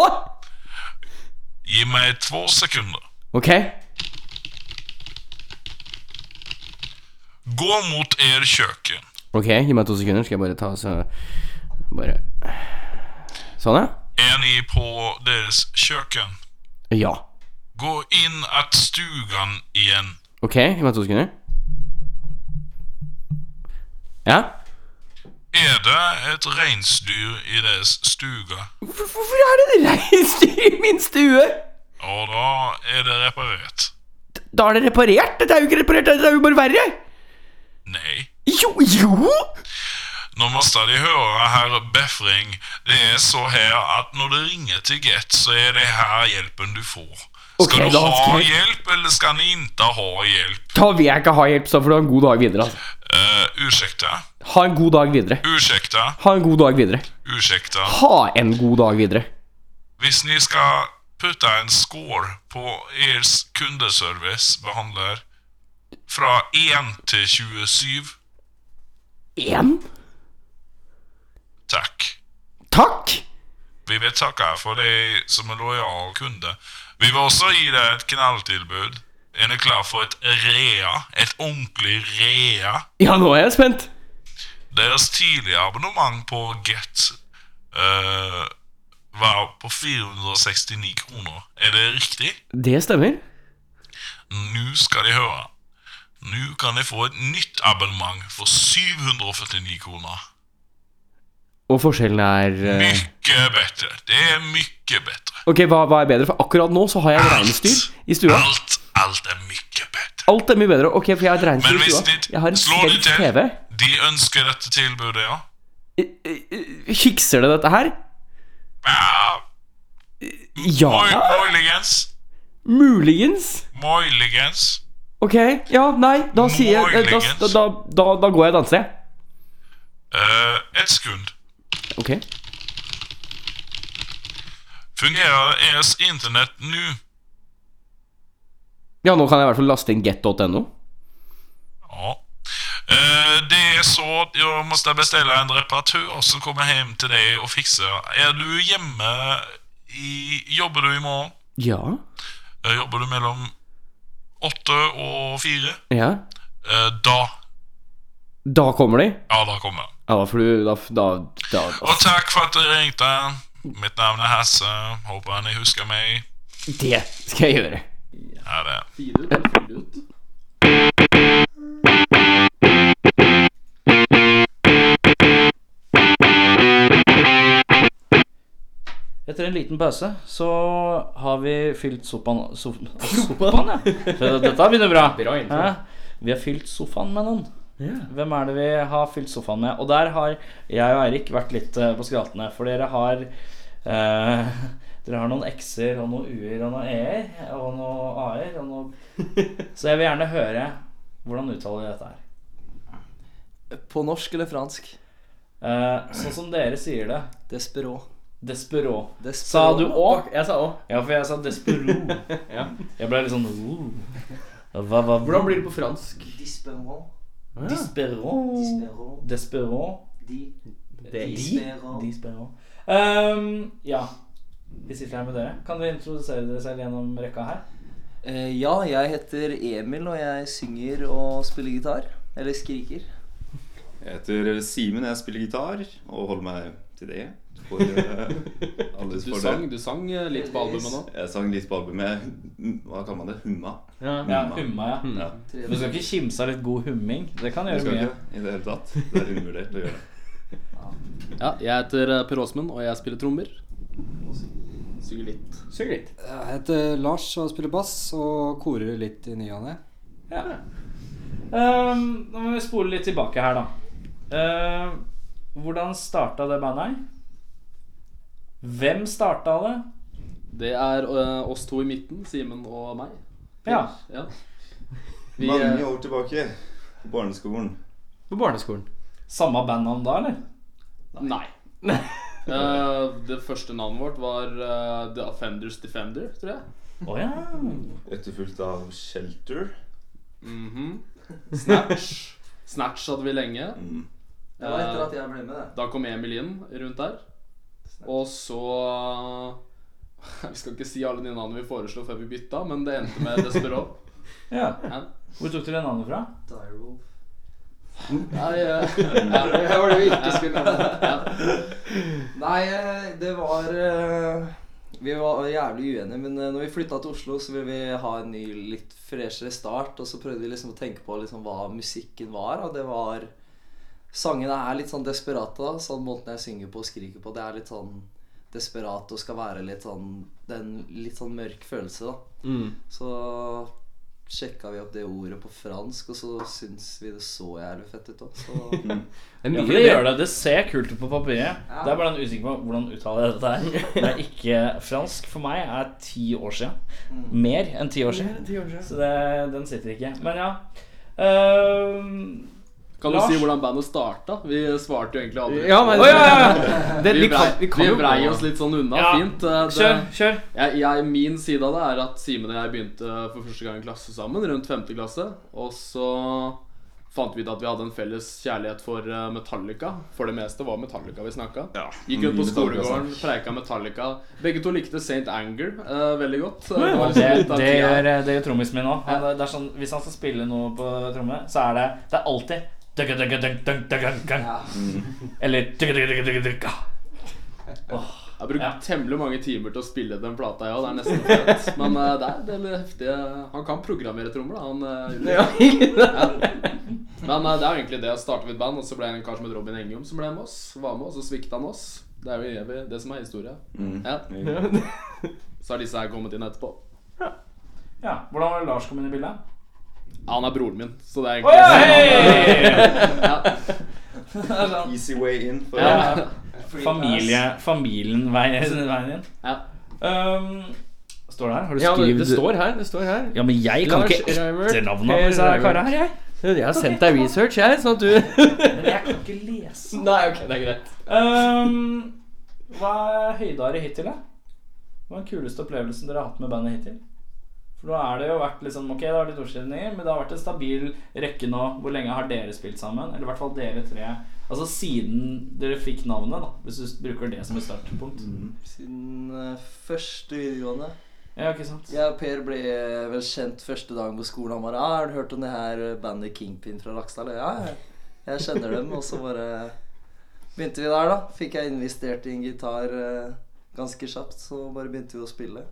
[SPEAKER 1] Gi meg två sekunder.
[SPEAKER 6] Ok.
[SPEAKER 1] Gå mot er kjøkken.
[SPEAKER 6] Ok, Gi meg to sekunder, skal jeg bare ta så Bare Sånn, ja.
[SPEAKER 1] Er ni på deres kjøkken?
[SPEAKER 6] Ja.
[SPEAKER 1] Gå inn at stugan igjen.
[SPEAKER 6] Ok, gi meg to sekunder. Ja?
[SPEAKER 1] Er det et reinsdyr i deres stuga?
[SPEAKER 6] Hvorfor er det et reinsdyr i min stue?
[SPEAKER 1] Ja, da er det reparert.
[SPEAKER 6] Da er det reparert. Dette er jo ikke reparert, dette er jo bare verre.
[SPEAKER 1] Nei.
[SPEAKER 6] Jo, jo!
[SPEAKER 1] Nå måste de høre, herr Befring, det er så her at når det ringer til Get, så er det her hjelpen du får. Skal
[SPEAKER 6] Ok,
[SPEAKER 1] du
[SPEAKER 6] da
[SPEAKER 1] ha
[SPEAKER 6] skal jeg-
[SPEAKER 1] hjelp, eller skal ni inte ha hjelp?
[SPEAKER 6] Da vil jeg ikke ha hjelp, så får du ha en god dag videre. Altså.
[SPEAKER 1] Uh, ursäkta,
[SPEAKER 6] Ha en god dag videre.
[SPEAKER 1] ursäkta,
[SPEAKER 6] Ha en god dag videre.
[SPEAKER 1] ursäkta.
[SPEAKER 6] Ha en god dag videre.
[SPEAKER 1] Hvis ni skal putta en score på ers kundeservice, behandler, fra 1 til 27,
[SPEAKER 6] Én?
[SPEAKER 1] takk.
[SPEAKER 6] Takk!
[SPEAKER 1] Vi vil takke for deg som en lojal kunde. Vi vil også gi deg et knalltilbud. Er du klar for et REA? Et ordentlig REA?
[SPEAKER 6] Ja, nå er jeg spent.
[SPEAKER 1] Deres tidligere abonnement på Get eh, var på 469 kroner. Er det riktig?
[SPEAKER 6] Det stemmer.
[SPEAKER 1] Nå skal de høre. Nå kan de få et nytt abonnement for 749 kroner.
[SPEAKER 6] Og forskjellen er eh,
[SPEAKER 1] Mye bedre. Det er mye bedre.
[SPEAKER 6] Ok, hva, hva er bedre? For akkurat nå så har jeg et reinsdyr i stua.
[SPEAKER 1] Alt, alt er mye bedre.
[SPEAKER 6] Alt er mye bedre. Ok, for jeg har et reinsdyr
[SPEAKER 1] Men
[SPEAKER 6] i
[SPEAKER 1] hvis
[SPEAKER 6] stua.
[SPEAKER 1] de
[SPEAKER 6] Jeg har en
[SPEAKER 1] slår de
[SPEAKER 6] svensk
[SPEAKER 1] til,
[SPEAKER 6] TV.
[SPEAKER 1] de ønsker dette tilbudet, ja.
[SPEAKER 6] Fikser det dette her?
[SPEAKER 1] ja
[SPEAKER 6] Ja,
[SPEAKER 1] moi, Muligens.
[SPEAKER 6] muligens.
[SPEAKER 1] Muligens.
[SPEAKER 6] Ok, ja, nei, da sier jeg eh,
[SPEAKER 1] Muligens.
[SPEAKER 6] Da, da, da, da går jeg og danser, jeg.
[SPEAKER 1] Eh, et sekund.
[SPEAKER 6] Ok.
[SPEAKER 1] Fungerer ES Internett nå?
[SPEAKER 6] Ja, nå kan jeg i hvert fall laste inn get.no.
[SPEAKER 1] Ja. Eh, det er så at jeg må bestille en reparatør som kommer hjem til deg og fikser. Er du hjemme i Jobber du i morgen?
[SPEAKER 6] Ja.
[SPEAKER 1] Eh, jobber du mellom åtte og fire?
[SPEAKER 6] Ja.
[SPEAKER 1] Eh, da.
[SPEAKER 6] Da kommer de.
[SPEAKER 1] Ja, da kommer jeg.
[SPEAKER 6] Ja, da får du Da, da, da.
[SPEAKER 1] Og takk for at du ringte. Mitt navn er Hasse. Håper ni husker meg.
[SPEAKER 6] Det skal jeg gjøre.
[SPEAKER 1] Ha det.
[SPEAKER 5] Etter en liten pause så har vi fylt sofaen sof Sofaen, ja. Så Dette begynner bra. Hæ? Vi har fylt sofaen med noen. Hvem er det vi har fylt sofaen med? Og der har jeg og Eirik vært litt eh, på skratene, for dere har eh, Dere har noen x-er og noen u-er og noen e-er og noen a-er og noen Så jeg vil gjerne høre hvordan uttaler dere dette her.
[SPEAKER 7] På norsk eller fransk?
[SPEAKER 5] Eh, sånn som dere sier det.
[SPEAKER 7] Desperå.
[SPEAKER 5] Desperå.
[SPEAKER 7] Desperå.
[SPEAKER 5] Sa du òg?
[SPEAKER 6] Jeg sa òg.
[SPEAKER 5] Ja, for jeg sa despero. Jeg ble litt sånn oh. hva, hva,
[SPEAKER 6] Hvordan blir det på fransk?
[SPEAKER 7] Desperant.
[SPEAKER 5] Despero
[SPEAKER 7] Desperant.
[SPEAKER 5] Despero
[SPEAKER 7] De.
[SPEAKER 5] Despero Despero Ehm, Ja Vi sitter her med dere Kan dere introdusere dere selv gjennom rekka her?
[SPEAKER 7] Eh, ja, jeg heter Emil, og jeg synger og spiller gitar. Eller skriker.
[SPEAKER 8] Jeg heter Simen, jeg spiller gitar og holder meg til det. For eh, alles
[SPEAKER 9] Du
[SPEAKER 8] fordel.
[SPEAKER 9] sang, du sang eh, litt på albumet nå.
[SPEAKER 8] Jeg sang litt på albumet. Hva kaller man det? Humma?
[SPEAKER 5] Ja, humma ja
[SPEAKER 8] Mm, Ja.
[SPEAKER 5] Du skal ikke kimse av litt god humming Det kan
[SPEAKER 8] Jeg
[SPEAKER 5] gjøre
[SPEAKER 8] skal
[SPEAKER 5] mye
[SPEAKER 8] ikke i det hele tatt. Det er undervurdert å gjøre det.
[SPEAKER 9] Ja, jeg heter eh, Per Åsmund, og jeg spiller trommer.
[SPEAKER 5] Suger litt.
[SPEAKER 6] Suger litt.
[SPEAKER 10] Jeg heter Lars og spiller bass og korer litt i ny og ne.
[SPEAKER 5] Ja. Ehm, nå må vi spole litt tilbake her, da. Ehm, hvordan starta det bandet her? Hvem starta det?
[SPEAKER 9] Det er øh, oss to i midten, Simen og meg.
[SPEAKER 5] Ja.
[SPEAKER 9] Ja. Vi,
[SPEAKER 8] Mange
[SPEAKER 9] øh,
[SPEAKER 8] år tilbake. På barneskolen.
[SPEAKER 6] På barneskolen.
[SPEAKER 5] Samme bandnavn da, eller?
[SPEAKER 9] nei. Eh, det første navnet vårt var eh, The Offenders Defender, tror jeg.
[SPEAKER 5] Å ja.
[SPEAKER 8] Etterfulgt av Shelter.
[SPEAKER 5] Mm.
[SPEAKER 9] Mhm. Snatch. Snatch hadde vi lenge. Eh,
[SPEAKER 8] Mm.
[SPEAKER 7] Det var etter at jeg ble med, det.
[SPEAKER 9] Da kom Emil inn rundt der. Og så Vi skal ikke si alle de navnene vi foreslo før vi bytta, men det endte med Desperate.
[SPEAKER 5] ja.
[SPEAKER 9] Ja.
[SPEAKER 5] Hvor tok dere navnet fra?
[SPEAKER 7] Direwolf.
[SPEAKER 9] Nei, eh,
[SPEAKER 7] Det var det vi ikke
[SPEAKER 9] skulle
[SPEAKER 7] Nei, eh, det var eh, Vi var jævlig uenige, men eh, når vi flytta til Oslo, så ville vi ha en ny, litt freshere start. Og så prøvde vi liksom å tenke på liksom hva musikken var, og det var Sangene er litt sånn desperate. da, Sånn Måten jeg synger på og skriker på, det er litt sånn desperat og skal være litt sånn Det er en litt sånn mørk følelse, da. Så sjekka vi opp det ordet på fransk, og så syns vi det så jævlig fett ut òg. Så
[SPEAKER 6] Det er
[SPEAKER 5] Ja,
[SPEAKER 6] mye
[SPEAKER 5] for det
[SPEAKER 6] det.
[SPEAKER 5] gjør det. Det ser kult ut på papiret. Det er bare den usikker på hvordan uttaler jeg dette her. Det er ikke fransk for meg er ti år siden. Mer enn ti år siden. Så det, den sitter ikke. Men ja. Ehm,
[SPEAKER 9] Kan du
[SPEAKER 5] Lars?
[SPEAKER 9] si hvordan bandet starta? Vi svarte jo egentlig aldri.
[SPEAKER 6] Ja, men
[SPEAKER 5] Å ja, ja,
[SPEAKER 6] Det,
[SPEAKER 9] Vi
[SPEAKER 6] vi,
[SPEAKER 9] brei,
[SPEAKER 6] kan, vi kan
[SPEAKER 9] vi
[SPEAKER 6] jo
[SPEAKER 9] brei oss litt sånn unna.
[SPEAKER 5] Ja.
[SPEAKER 9] Fint. eh,
[SPEAKER 5] ja.
[SPEAKER 9] Det,
[SPEAKER 5] Kjør, kjør.
[SPEAKER 9] Jeg, jeg, min side av det er at Simen og jeg begynte for første gang i klasse sammen, rundt 5. klasse. Og så fant vi ut at vi hadde en felles kjærlighet for eh, Metallica. For det meste var Metallica vi snakka.
[SPEAKER 8] Ja,
[SPEAKER 9] Gikk
[SPEAKER 5] Mm,
[SPEAKER 9] rundt
[SPEAKER 8] mye
[SPEAKER 9] på skolegården,
[SPEAKER 8] Metallica-snakk.
[SPEAKER 9] preika Metallica. Begge to likte St. Anger eh, veldig godt. Eh, det var
[SPEAKER 5] Det,
[SPEAKER 9] liksom litt av
[SPEAKER 5] det
[SPEAKER 9] tida.
[SPEAKER 5] gjør, eh, det gjør trommisen min òg. Det er sånn, hvis han skal spille noe på tromme, så er det Det er alltid dugga, dugga, dugga, dugga, dugga, dugga. Eller dugga, dugga, dugga, dugga, dugga.
[SPEAKER 9] Jeg har brukt
[SPEAKER 5] Ja.
[SPEAKER 9] temmelig mange timer til å spille den plata, jeg òg. Det er nesten fett. Men eh, det er en del heftige Han kan programmere trommer, da. Han, eh, Ulrik. Men eh, det er jo egentlig det. Startet vi et band, og så ble en kar som het Robin Engum som ble med oss. Var med oss, og svikta han oss. Det er jo evig det som er historie. Ja. Så har disse her kommet inn etterpå.
[SPEAKER 5] Ja, Hvordan var det Lars kom inn i bildet?
[SPEAKER 9] Ja, han er broren min, så det er
[SPEAKER 5] Oi,
[SPEAKER 9] egentlig
[SPEAKER 8] Easy way in. For
[SPEAKER 5] Ja. Familie, familien veien, veien inn.
[SPEAKER 9] Ja.
[SPEAKER 5] Um, står det her? Har du
[SPEAKER 6] Ja, det,
[SPEAKER 5] skrevet
[SPEAKER 6] det står her. Det står her.
[SPEAKER 5] Ja, men jeg kan
[SPEAKER 6] Lars
[SPEAKER 5] ikke
[SPEAKER 6] Reimert,
[SPEAKER 5] etternavnet
[SPEAKER 6] Per
[SPEAKER 5] på disse her
[SPEAKER 6] Reimert.
[SPEAKER 5] karene her, jeg.
[SPEAKER 6] Jeg har sendt deg research, jeg, sånn at du
[SPEAKER 5] Men jeg kan ikke lese.
[SPEAKER 6] Nei, ok, det er greit.
[SPEAKER 5] Um, hva er høydare hittil, da? Hva er den kuleste opplevelsen dere har hatt med bandet hittil? For nå er det jo vært liksom, ok, det har vært litt årsskilninger, men det har vært en stabil rekke nå. Hvor lenge har dere spilt sammen? Eller i hvert fall dere tre. Altså siden dere fikk navnet, da. Hvis du bruker det som et startpunkt.
[SPEAKER 7] Siden eh, første videregående.
[SPEAKER 5] Ja, ikke sant?
[SPEAKER 7] Jeg og Per ble eh, vel kjent første dagen på skolen. Han bare ah, 'Har du hørt om det her bandet Kingpin fra Raksdal?' Ja, ja, jeg kjenner dem. Og så bare begynte vi der, da. Fikk jeg investert i en gitar eh, ganske kjapt, så bare begynte vi å spille.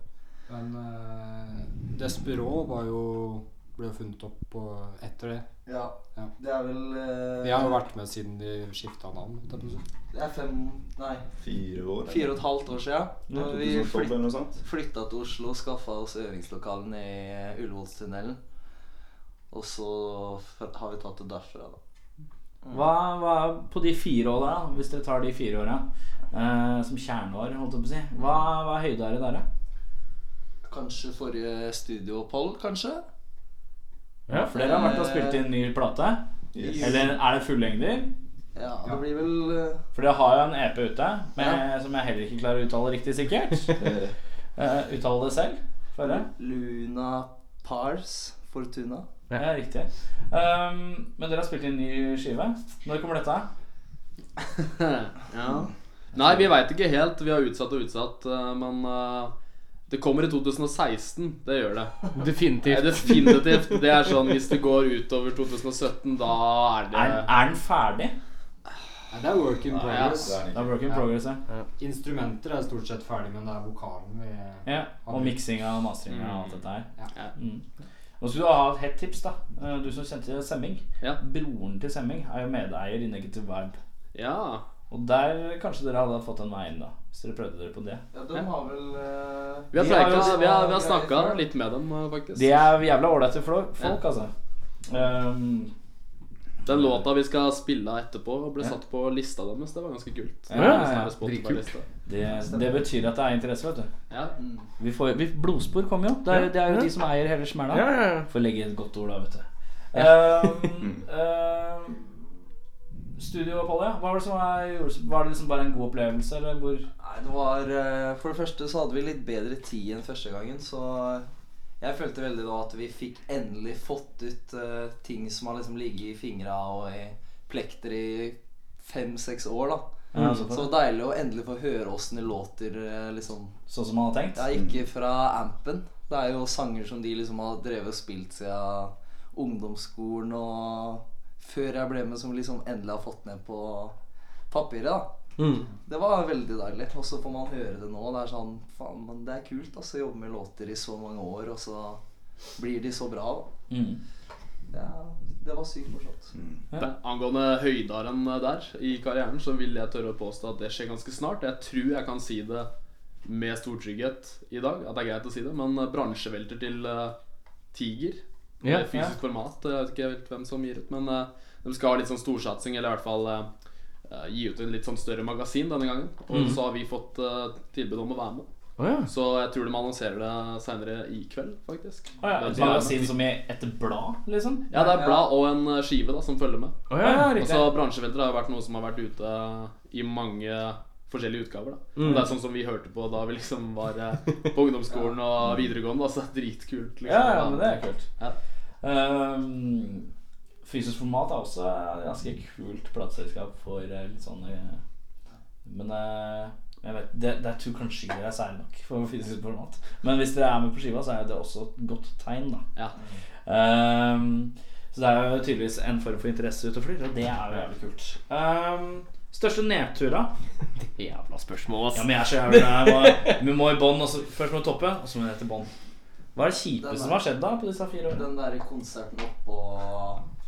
[SPEAKER 10] Men uh, Despero var jo, ble jo funnet opp på, etter det.
[SPEAKER 7] Ja.
[SPEAKER 10] Ja.
[SPEAKER 7] Det er vel eh,
[SPEAKER 10] De har jo vært med siden de skifta navn. holdt jeg på å si.
[SPEAKER 7] Det er fem Nei,
[SPEAKER 8] fire år. eller?
[SPEAKER 7] fire og et halvt år sia. Da vi
[SPEAKER 8] 2012
[SPEAKER 7] flytta
[SPEAKER 8] eller noe sånt.
[SPEAKER 7] flytta til Oslo og skaffa oss øvingslokalene i eh, Ullevålstunnelen. Og så f- har vi tatt det derfra, da.
[SPEAKER 5] Hva, hva på de fire åra, da, hvis dere tar de fire åra eh, som kjerneår, holdt jeg på å si, hva, hva er høydare der, da?
[SPEAKER 7] Kanskje forrige studioopphold, kanskje?
[SPEAKER 5] Ja, for dere har vært og spilt inn ny plate.
[SPEAKER 8] Yes.
[SPEAKER 5] Eller er det fullengder?
[SPEAKER 7] Ja, det blir vel eh,
[SPEAKER 5] For dere har jo en EP ute med, som jeg heller ikke klarer å uttale riktig sikkert. Eh, uttale det selv. Føre.
[SPEAKER 7] Luna Pars Fortuna.
[SPEAKER 5] Ja, riktig. Um, men dere har spilt inn ny skive. Når kommer dette?
[SPEAKER 9] greit. ja. Nei, vi veit ikke helt. Vi har utsatt og utsatt, eh, men eh, det kommer i 2016. Det gjør det. Ja,
[SPEAKER 6] Definitivt.
[SPEAKER 9] definitivt. Det er sånn hvis det går utover 2017, da er det
[SPEAKER 5] Er, er den ferdig?
[SPEAKER 10] Nei, det er work in
[SPEAKER 9] ja.
[SPEAKER 10] progress.
[SPEAKER 5] Det er work in progress, ja.
[SPEAKER 10] Instrumenter er stort sett ferdig, men det er vokalen vi
[SPEAKER 5] ja. Og miksinga og mastringa og alt dette her.
[SPEAKER 9] Ja.
[SPEAKER 5] Mm. Nå skulle du ha et hett tips, da. Eh, Du som kjente Semming.
[SPEAKER 9] Ja.
[SPEAKER 5] Broren til Semming er jo medeier i Negative Vibe.
[SPEAKER 9] ja.
[SPEAKER 5] Og der kanskje dere hadde fått en vei inn, da. Hvis dere prøvde dere på det.
[SPEAKER 7] Ja, de har vel eh,
[SPEAKER 9] Vi har,
[SPEAKER 5] De har
[SPEAKER 9] pleiket,
[SPEAKER 5] jo-
[SPEAKER 9] vi har, vi har snakka litt med dem, eh, faktisk.
[SPEAKER 5] De er jævla ålreite flo- folk, altså. Ehm,
[SPEAKER 9] Den låta vi skal spille etterpå, ble satt på lista deres. Det var ganske kult.
[SPEAKER 5] Ja, ja, ja.
[SPEAKER 9] Sånn her Spotify-liste.
[SPEAKER 5] det, det betyr at det er interesse, vet du.
[SPEAKER 9] Ja.
[SPEAKER 5] Vi får, vi, blodspor kommer jo. Det er, det er jo de som eier hele smella.
[SPEAKER 6] Ja, ja, ja.
[SPEAKER 5] Får legge et godt ord, da, vet du. Ehm, ehm, Studiooppholdet, ja. Hva var det som var, gjorde- var det liksom bare en god opplevelse, eller hvor
[SPEAKER 7] Nei, det var eh, For det første så hadde vi litt bedre tid enn første gangen, så jeg følte veldig da at vi fikk endelig fått ut eh, ting som har liksom ligget i fingra og i plekter i fem-seks år, da.
[SPEAKER 5] Ja,
[SPEAKER 7] så
[SPEAKER 5] såpass.
[SPEAKER 7] det var deilig å endelig få høre åssen det låter, eh, liksom.
[SPEAKER 5] Sånn som man hadde tenkt?
[SPEAKER 7] Ja, ikke fra ampen. Det er jo sanger som de liksom har drevet og spilt siden ungdomsskolen og før jeg ble med, som liksom endelig har fått ned på papiret, da. Det var veldig deilig. Og så får man høre det nå. Det er sånn Faen, men det er kult altså, å jobbe med låter i så mange år, og så blir de så bra. da.
[SPEAKER 5] Mm.
[SPEAKER 7] Det, er- det var sykt morsomt.
[SPEAKER 9] Da- Angående høydaren der i karrieren, så vil jeg tørre å påstå at det skjer ganske snart. Jeg tror jeg kan si det med stor trygghet i dag, at det er greit å si det, men bransjevelter til eh, Tiger
[SPEAKER 6] Ja,
[SPEAKER 9] i fysisk format. eh, Jeg vet ikke helt hvem som gir ut, men eh, de skal ha litt sånn storsatsing, eller i hvert fall eh, eh, gi ut en litt sånn større magasin denne gangen. Og så har vi fått eh, tilbud om å være med.
[SPEAKER 6] Mhm. Å ja.
[SPEAKER 9] Så jeg tror de annonserer det seinere i kveld, faktisk.
[SPEAKER 5] Å ja, et
[SPEAKER 9] Det er-
[SPEAKER 5] magasin som i et blad, liksom?
[SPEAKER 9] ja, det er blad og en eh, skive da, som følger med.
[SPEAKER 6] Å
[SPEAKER 5] Ja,
[SPEAKER 6] ja.
[SPEAKER 5] riktig.
[SPEAKER 9] Altså, bransjefelter har jo vært noe som har vært ute i mange forskjellige utgaver. da Det er sånn som vi hørte på da vi liksom var eh,
[SPEAKER 6] Mm.
[SPEAKER 9] på ungdomsskolen og videregående. Altså, det er dritkult. Liksom,
[SPEAKER 5] Ja, ja, men det er kult.
[SPEAKER 9] Ja.
[SPEAKER 5] Ehm, fysisk format er også et ganske kult plateselskap for eh, litt sånn eh, Men eh, jeg vet, det, det er to kanskje ikke dere er særlig nok for fysisk format. Men hvis dere er med på skiva, så er det også et godt tegn, da.
[SPEAKER 9] Ja.
[SPEAKER 5] Ehm, så det er jo tydeligvis en form for interesse ute og flyr, og det er jo jævlig kult. Ehm, største nedtura?
[SPEAKER 6] Jævla spørsmål, ass.
[SPEAKER 5] Ja, men jeg er så jævlig jeg må, Vi må i bånn, og så- først må vi toppe, og så må vi ned til bånn. Hva er det kjipeste som har skjedd da på disse fire årene?
[SPEAKER 7] Den der konserten oppå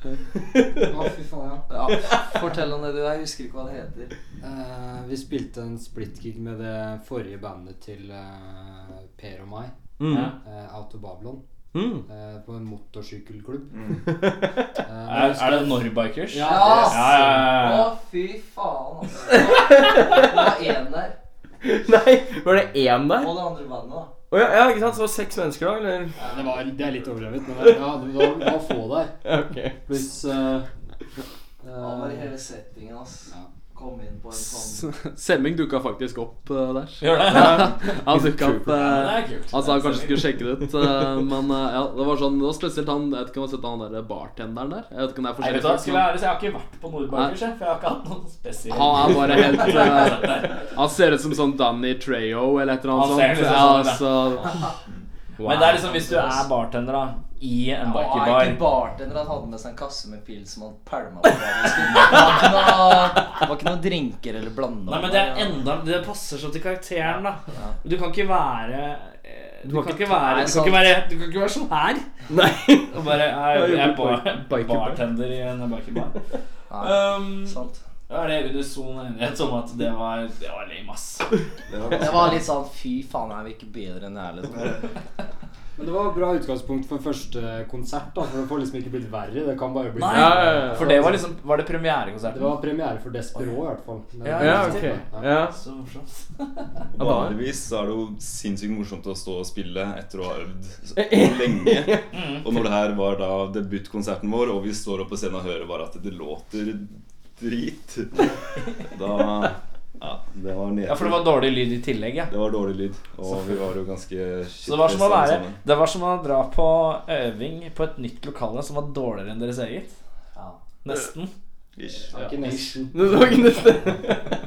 [SPEAKER 10] Å, fy faen, ja.
[SPEAKER 7] Ja, fortell om det du Jeg husker ikke hva det heter.
[SPEAKER 10] Eh, vi spilte en splitgig med det forrige bandet til eh, Per og meg,
[SPEAKER 5] Ja.
[SPEAKER 10] eh, Out of Babylon,
[SPEAKER 6] Mm.
[SPEAKER 10] eh, på en motorsykkelklubb. Eh,
[SPEAKER 5] Er,
[SPEAKER 10] men jeg
[SPEAKER 5] er det Norrbikers?
[SPEAKER 10] Ja.
[SPEAKER 7] Ja,
[SPEAKER 5] Ja, ja, ja, ja.
[SPEAKER 7] Å, fy faen, altså. Det var én der.
[SPEAKER 6] Nei, var det én der?
[SPEAKER 7] Og det andre bandet, da.
[SPEAKER 6] Å ja, ja, ikke sant? Så det var seks mennesker da, eller?
[SPEAKER 10] husker- det, var, det er litt overdrevet, men det- ja, det var, det var få der.
[SPEAKER 6] Ja, ok.
[SPEAKER 10] Pluss eh,
[SPEAKER 7] Han var i
[SPEAKER 10] eh,
[SPEAKER 7] hele settingen, ass. Kom inn på en sånn
[SPEAKER 9] S- Semming dukka faktisk opp eh, der.
[SPEAKER 5] Gjør det?
[SPEAKER 9] Han dukka opp eh,
[SPEAKER 5] Ja, det er kult.
[SPEAKER 9] Han sa han kanskje skulle sjekke det ut, eh, men eh, ja, det var sånn Det var spesielt han Jeg vet ikke om jeg har sett han der bartenderen der. Jeg vet ikke om det er
[SPEAKER 5] Nei, vet du
[SPEAKER 9] forskjellige
[SPEAKER 5] hva,
[SPEAKER 9] folk, men
[SPEAKER 5] skulle jeg, ærlig, så jeg har ikke vært på Nordbakers, jeg, for jeg har ikke hatt noen spesiell
[SPEAKER 9] han er bare helt eh, Han ser ut som sånn Danny Trejo eller et eller
[SPEAKER 5] Han
[SPEAKER 9] annet sånt.
[SPEAKER 5] ser liksom
[SPEAKER 9] Ja,
[SPEAKER 5] sånn ut,
[SPEAKER 9] altså,
[SPEAKER 5] Men det er liksom hvis du er bartender da i en
[SPEAKER 7] Det var ikke
[SPEAKER 5] bikerbar
[SPEAKER 7] bartender han hadde med seg en kasse med pil som han pælma på. dagen skulle. Det var ikke noe- det var ikke noe drinker eller blanda.
[SPEAKER 5] Nei, men det er enda Det passer så til karakteren, da. Du kan ikke være eh, Du kan ikke være
[SPEAKER 7] Nei,
[SPEAKER 5] Du kan ikke være, du kan ikke være sånn her.
[SPEAKER 6] Nei.
[SPEAKER 5] Og bare Jeg, jeg er bar,
[SPEAKER 6] bikerbar.
[SPEAKER 5] bartender i en bikerbar.
[SPEAKER 7] Nei,
[SPEAKER 5] Um,
[SPEAKER 7] sant.
[SPEAKER 5] er det unison enighet om at det var, det var lame, ass?
[SPEAKER 7] Det var litt sånn fy faen, er vi ikke bedre enn det her, liksom?
[SPEAKER 10] Men det var et bra utgangspunkt for første konsert, da, for det får liksom ikke blitt verre. Det kan bare bli
[SPEAKER 5] Nei.
[SPEAKER 6] Ja, ja, ja.
[SPEAKER 5] For det var liksom Var det
[SPEAKER 10] Det
[SPEAKER 5] premierekonserten?
[SPEAKER 10] var premiere for Despero, i hvert fall. Det
[SPEAKER 5] Ja,
[SPEAKER 10] var-
[SPEAKER 6] Ja, ok. Ja.
[SPEAKER 5] Så morsomt.
[SPEAKER 6] Ja, da-
[SPEAKER 8] Vanligvis så er det jo sinnssykt morsomt å stå og spille etter å ha øvd så lenge. Og når det her var da debutkonserten vår, og vi står opp på scenen og hører bare at det låter drit Da Ja, det var nedtur.
[SPEAKER 5] Ja, for det var dårlig lyd i tillegg, ja.
[SPEAKER 8] Det var dårlig lyd, og vi var jo ganske
[SPEAKER 5] Så det var som
[SPEAKER 8] shitfaced
[SPEAKER 5] å
[SPEAKER 8] alle
[SPEAKER 5] være
[SPEAKER 8] sammen.
[SPEAKER 5] Det var som å dra på øving på et nytt lokale som var dårligere enn deres eget.
[SPEAKER 7] Ja.
[SPEAKER 5] Nesten.
[SPEAKER 8] Ish.
[SPEAKER 10] Ikke nation.
[SPEAKER 6] Nå så ikke neste.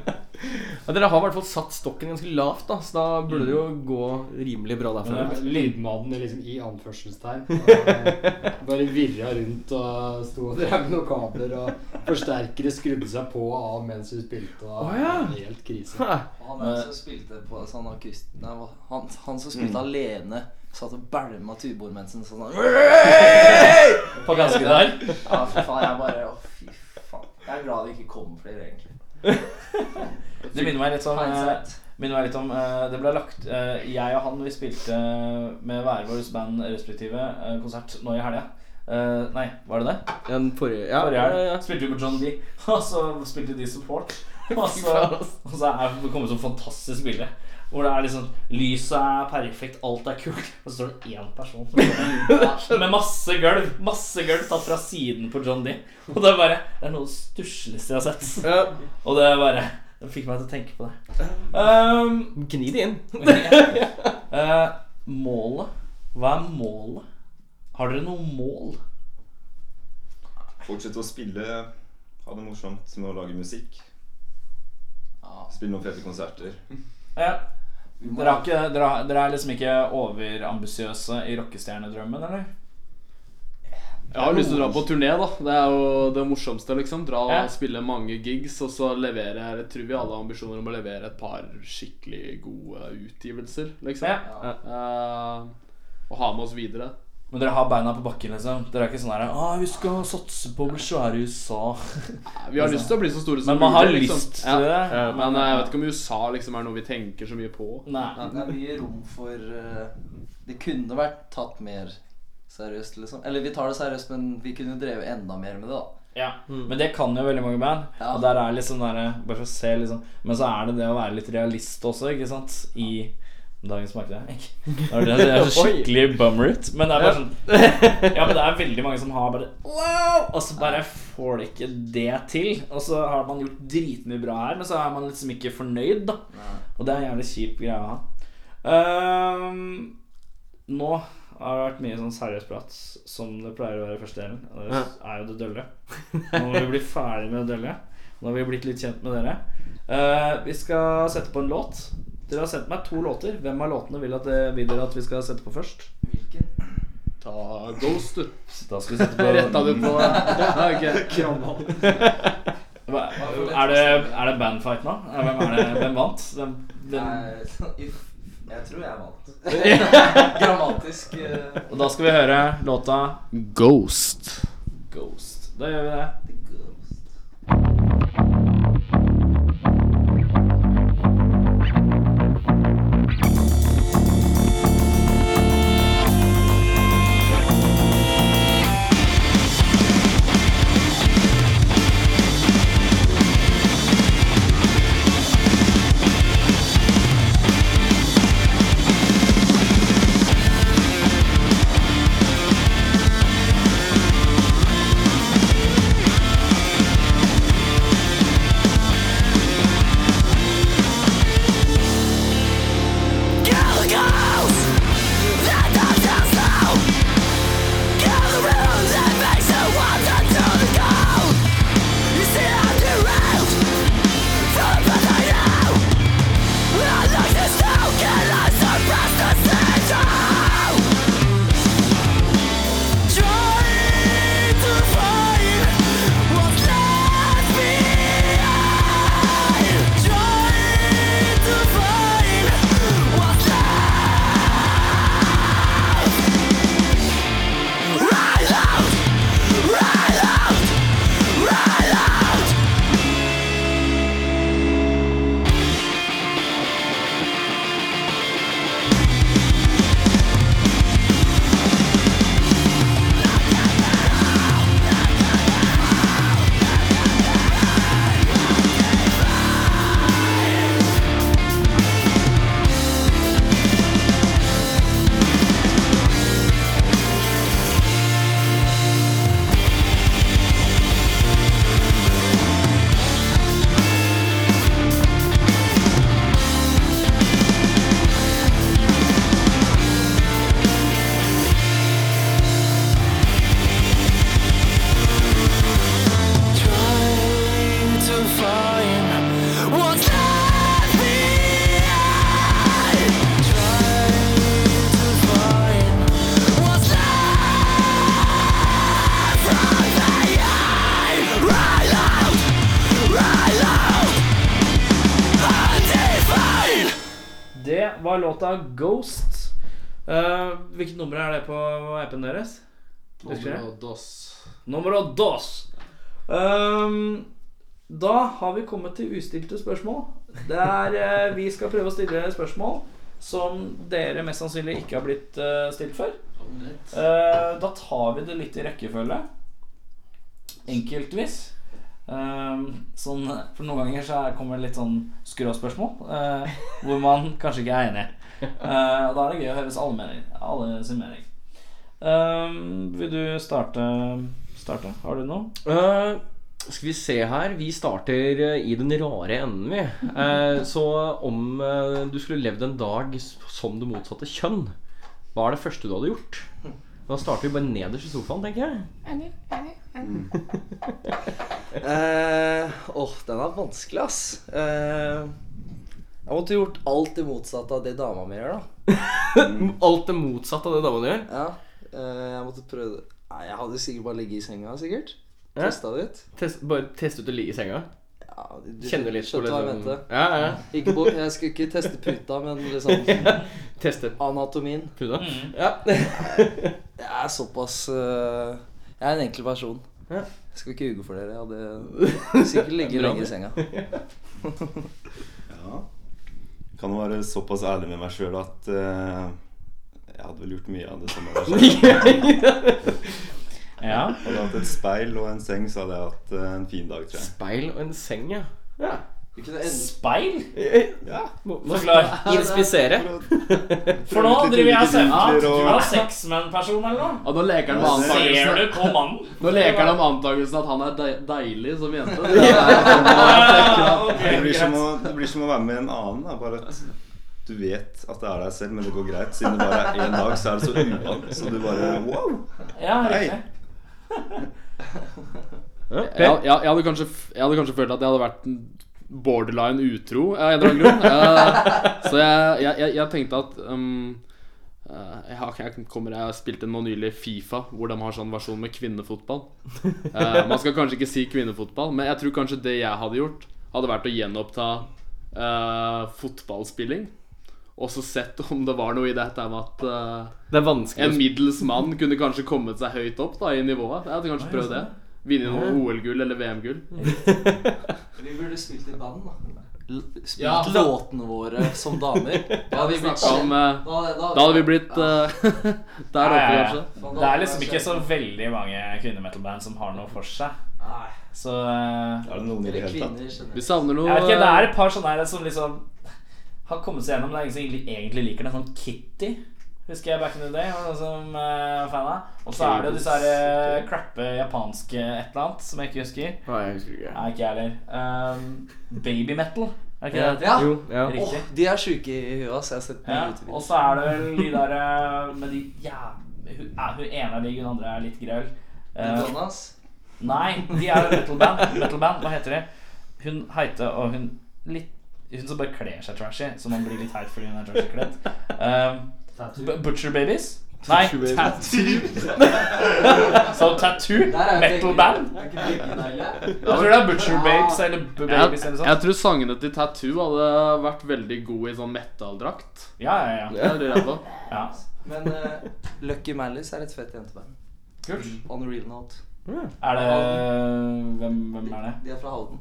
[SPEAKER 6] Ja, dere har i hvert fall satt stokken ganske lavt, da, så da burde det jo
[SPEAKER 9] Mm.
[SPEAKER 6] gå rimelig bra derfra.
[SPEAKER 10] Lydmannen er liksom i anførselstegn. og Bare virra rundt og sto og drev med noen kabler. Og forsterkere skrudde seg på og av mens vi spilte. Og
[SPEAKER 6] Å, ja.
[SPEAKER 10] Helt krise.
[SPEAKER 6] Hæ.
[SPEAKER 7] Og Han der som spilte på sånn akust... Nei, hva- han, han som
[SPEAKER 5] Mm.
[SPEAKER 7] spilte alene, satt og bælma tubormensen sånn sånn
[SPEAKER 5] På ganske der.
[SPEAKER 7] Ja, fy faen. Jeg bare Å, fy faen. Jeg er glad det ikke kom flere, egentlig.
[SPEAKER 5] Det minner meg litt om, eh,
[SPEAKER 7] Hindsight.
[SPEAKER 5] minner meg litt om eh, Det ble lagt eh, Jeg og han vi spilte eh, med hver vårt band respektive eh, konsert nå i helga. Eh, nei, var det det?
[SPEAKER 6] Ja, Den forrige ja,
[SPEAKER 5] Forrige helg
[SPEAKER 6] ja, ja.
[SPEAKER 5] spilte vi på John D, og så spilte de support. Og så, og så er det kommet sånn fantastisk bilde. Hvor det er liksom Lyset er perfekt, alt er kult. Og så står det én person som står der, med masse gulv. Masse gulv tatt fra siden på John D. Og det er bare Det er noe av det stussligste jeg har sett.
[SPEAKER 6] Ja.
[SPEAKER 5] Og det bare Det fikk meg til å tenke på det. Ehm,
[SPEAKER 6] Gni det inn.
[SPEAKER 5] eh, målet. Hva er målet? Har dere noe mål?
[SPEAKER 8] Fortsette å spille, ha det morsomt med å lage musikk. Spille noen fete konserter.
[SPEAKER 5] Ja. Dere, har ikke, dere, har, dere er liksom ikke overambisiøse i rockestjernedrømmen, eller?
[SPEAKER 9] Jeg har lyst til å dra på turné, da. Det er jo det morsomste, liksom. Dra og
[SPEAKER 5] Ja.
[SPEAKER 9] spille mange gigs, og så levere Jeg tror vi alle har ambisjoner om å levere et par skikkelig gode utgivelser, liksom.
[SPEAKER 5] Ja.
[SPEAKER 9] Eh, og ha med oss videre.
[SPEAKER 5] Men dere har beina på bakken, liksom? Dere er ikke sånn her ah, 'Vi skal satse på å bli svære i USA'.
[SPEAKER 9] Vi har lyst til å bli så store som
[SPEAKER 5] Men man har
[SPEAKER 9] mulig,
[SPEAKER 5] lyst til
[SPEAKER 9] ja.
[SPEAKER 5] det.
[SPEAKER 9] Ja, Men eh, jeg vet ikke om USA liksom er noe vi tenker så mye på.
[SPEAKER 5] Nei.
[SPEAKER 7] Det er mye rom for eh, Det kunne vært tatt mer seriøst, liksom. Eller vi tar det seriøst, men vi kunne drevet enda mer med det, da.
[SPEAKER 5] Ja. Men det kan jo veldig mange band.
[SPEAKER 7] Ja.
[SPEAKER 5] Og der er liksom der, bare for å se liksom Men så er det det å være litt realist også, ikke sant? I dagens marked. ikke? Det er, det, det er så skikkelig bummer ut. Men det er bare sånn Ja, men det er veldig mange som har bare wow! Og så bare får de ikke det til. Og så har man gjort dritmye bra her, men så er man liksom ikke fornøyd, da. Og det er en jævlig kjip greie å ha. Ehm, nå har det vært mye sånn seriøs prat, som det pleier å være i første delen. Og det er jo det dølle. Nå må vi bli ferdig med det dølle. Nå har vi blitt litt kjent med dere. Eh, vi skal sette på en låt. Dere har sendt meg to låter. Hvem av låtene vil, at, det- vil dere at vi skal sette på først?
[SPEAKER 9] Ta Ghost, du.
[SPEAKER 5] Da skal vi sette på
[SPEAKER 9] Retta du på ja, ok.
[SPEAKER 5] Hva- Er det, er det bandfight nå? Eh, Hvem, er det, hvem vant? Hvem, hvem?
[SPEAKER 7] Nei, uff, jeg tror jeg vant. Grammatisk eh,
[SPEAKER 5] Og da skal vi høre låta
[SPEAKER 9] Ghost.
[SPEAKER 5] Ghost. Da gjør vi det. Det var låta 'Ghost'. Eh, hvilket nummer er det på appen deres? Husker dere?
[SPEAKER 9] Dos.
[SPEAKER 5] Nummer dos. Ehm, Da har vi kommet til ustilte spørsmål. Der eh, vi skal prøve å stille spørsmål som dere mest sannsynlig ikke har blitt eh, stilt før. Eh, da tar vi det litt i rekkefølge. Enkeltvis. Ehm, sånn, for noen ganger så er- kommer det litt sånn skråspørsmål eh, hvor man kanskje ikke er enig. Eh, og da er det gøy å høre alle, mening, alle sin mening. Ehm, vil du starte, starte? Har du noe?
[SPEAKER 6] Eh, skal vi se her Vi starter eh, i den rare enden, vi. Eh, så om eh, du skulle levd en dag s- som det motsatte kjønn, hva er det første du hadde gjort? Da starter vi bare nederst i sofaen, tenker jeg.
[SPEAKER 7] Eh, åh, den er vanskelig, ass. Eh, jeg måtte gjort alt det motsatte av det dama mi gjør, da.
[SPEAKER 6] Alt det motsatte av det damene gjør.
[SPEAKER 7] Ja, eh, jeg måtte prøve Nei, Jeg hadde sikkert bare ligget i senga, sikkert.
[SPEAKER 6] Ja.
[SPEAKER 7] Testa det ut.
[SPEAKER 6] Test, bare teste ut å ligge i senga.
[SPEAKER 7] Ja, du, du
[SPEAKER 6] Kjenne litt på
[SPEAKER 7] skjønte hva jeg
[SPEAKER 6] liksom-
[SPEAKER 7] mente.
[SPEAKER 6] Ja, ja.
[SPEAKER 7] Ikke på, jeg skulle ikke teste puta, men liksom
[SPEAKER 6] Teste
[SPEAKER 7] anatomien.
[SPEAKER 6] puta.
[SPEAKER 7] Jeg er såpass eh, Jeg er en enkel person.
[SPEAKER 6] Ja.
[SPEAKER 7] Jeg skal ikke ljuge for dere. Jeg hadde sikkert ligget
[SPEAKER 6] Bra,
[SPEAKER 7] lenge
[SPEAKER 6] det.
[SPEAKER 7] i senga.
[SPEAKER 8] Ja. Kan jo være såpass ærlig med meg sjøl at eh, jeg hadde vel gjort mye av det samme. der selv.
[SPEAKER 5] Ja.
[SPEAKER 8] Hadde jeg hatt et speil og en seng, så hadde jeg hatt eh, en fin dag, tror jeg.
[SPEAKER 6] Speil og en seng, ja. ja.
[SPEAKER 7] Vi kunne enda
[SPEAKER 5] Speil?
[SPEAKER 8] Ja,
[SPEAKER 6] Må, må
[SPEAKER 5] Forklar.
[SPEAKER 6] inspisere.
[SPEAKER 8] for å
[SPEAKER 5] For nå driver jeg og ser
[SPEAKER 8] Ja,
[SPEAKER 5] at
[SPEAKER 8] du
[SPEAKER 5] du
[SPEAKER 8] har
[SPEAKER 5] har sex med en person eller noe.
[SPEAKER 9] Og nå leker han med
[SPEAKER 5] Ser
[SPEAKER 9] antakelsen
[SPEAKER 5] du på mannen?
[SPEAKER 9] Nå leker han om antakelsen at han er de deilig som jente. Det er,
[SPEAKER 8] det, blir som å, det blir som å være med en annen. Da. Bare at du vet at det er deg selv, men det går greit. Siden det bare er én dag, så er det så uvant. Så du bare wow!
[SPEAKER 5] Ja, riktig.
[SPEAKER 9] jeg, jeg, jeg, hadde kanskje, f- jeg hadde kanskje følt at jeg hadde vært en borderline utro av en eller annen grunn. Eh, så jeg, jeg, jeg, jeg tenkte at um, eh, jeg, har- jeg, kommer, jeg har spilt en nå nylig Fifa, hvor de har sånn versjon med kvinnefotball. Eh, man skal kanskje ikke si kvinnefotball, men jeg tror kanskje det jeg hadde gjort, hadde vært å gjenoppta eh, fotballspilling. Og så sett om det var noe i dette med at eh,
[SPEAKER 6] Det er vanskelig.
[SPEAKER 9] En middels mann kunne kanskje kommet seg høyt opp da, i nivået. Jeg hadde kanskje prøvd det.
[SPEAKER 6] sånn.
[SPEAKER 9] Vinne noe OL-gull eller VM-gull.
[SPEAKER 7] Vi burde spilt i band, da. Spilt
[SPEAKER 9] Ja.
[SPEAKER 7] låtene våre som damer. Da hadde vi blitt
[SPEAKER 9] Snakket om, eh,
[SPEAKER 7] Da, da,
[SPEAKER 9] Da hadde vi blitt eh, der oppe,
[SPEAKER 5] Ja, ja, ja.
[SPEAKER 9] kanskje.
[SPEAKER 5] Det er liksom ikke så veldig mange kvinnemetalband som har noe for seg.
[SPEAKER 7] Nei.
[SPEAKER 5] Så eh,
[SPEAKER 8] Er det noen i det
[SPEAKER 7] Eller
[SPEAKER 8] hele tatt?
[SPEAKER 7] kvinner, skjønner
[SPEAKER 9] Vi savner noe
[SPEAKER 5] Jeg vet ikke, det
[SPEAKER 9] eh,
[SPEAKER 5] er et par sånne her som liksom har kommet seg gjennom, men det er ingen som egentlig- egentlig liker det. Sånn Kitty husker jeg back in the day. Var noen som eh, var fan av. Og så er det jo disse her uh, crappe japanske et eller annet som jeg ikke husker.
[SPEAKER 6] Nei, jeg husker ikke.
[SPEAKER 5] Nei, ikke jeg heller. Um, baby metal, er ikke det det? heter?
[SPEAKER 7] Ja.
[SPEAKER 6] Jo, ja.
[SPEAKER 7] Åh,
[SPEAKER 5] Riktig.
[SPEAKER 7] de er sjuke i huet, ass. Jeg har sett mye
[SPEAKER 5] Ja,
[SPEAKER 7] YouTube.
[SPEAKER 5] og så er det vel de der eh, med de ja, hun, er, hun ene er digg, hun andre er litt grøll. Eh,
[SPEAKER 7] Madonna, Sånn, ass.
[SPEAKER 5] Nei, de er jo metalband. metalband. Hva heter de? Hun heite og hun litt Hun som bare kler seg trashy, så man blir litt heit fordi hun er trashy kledd. Um, B- Butcher Babies? Nei, Tattoo. Så Tattoo?
[SPEAKER 7] Der er jo begge-
[SPEAKER 5] Metalband?
[SPEAKER 7] er ikke begge deilige?
[SPEAKER 5] Jeg tror det er Butcher
[SPEAKER 7] Ah.
[SPEAKER 5] Babes eller B-
[SPEAKER 9] jeg,
[SPEAKER 5] Babies eller noe
[SPEAKER 9] jeg
[SPEAKER 5] sånt.
[SPEAKER 9] tror sangene til Tattoo hadde vært veldig gode i sånn metal-drakt.
[SPEAKER 5] Ja, ja, ja.
[SPEAKER 9] Det er jeg redd for.
[SPEAKER 5] ja.
[SPEAKER 7] Men eh, Lucky Malice er et fett jenteband. Mm.
[SPEAKER 5] Kult.
[SPEAKER 7] On a real note.
[SPEAKER 5] Er det Hvem, hvem er det?
[SPEAKER 7] De er fra Halden.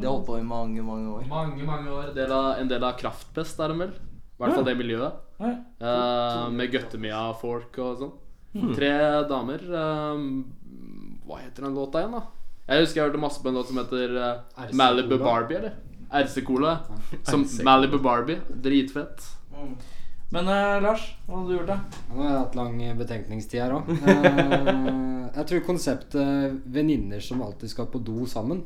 [SPEAKER 7] De har holdt på i mange, mange år.
[SPEAKER 9] Mange, mange år. En del av, en del av Kraftfest er de vel. I hvert fall det miljøet.
[SPEAKER 5] Ja.
[SPEAKER 9] Eh, med Gøttemia-folk og sånn.
[SPEAKER 5] Hmm.
[SPEAKER 9] Tre damer. eh, hva heter den låta igjen, da? Jeg husker jeg hørte masse på en låt som heter eh,
[SPEAKER 10] RC
[SPEAKER 9] Malibu
[SPEAKER 10] Cola.
[SPEAKER 9] Barbie, eller? RC-cola. Som Malibu Barbie. Dritfett.
[SPEAKER 5] Hmm. Men eh, Lars, hva hadde du gjort, da?
[SPEAKER 10] Nå har jeg hatt lang betenkningstid her Eh, òg. Jeg tror konseptet venninner som alltid skal på do sammen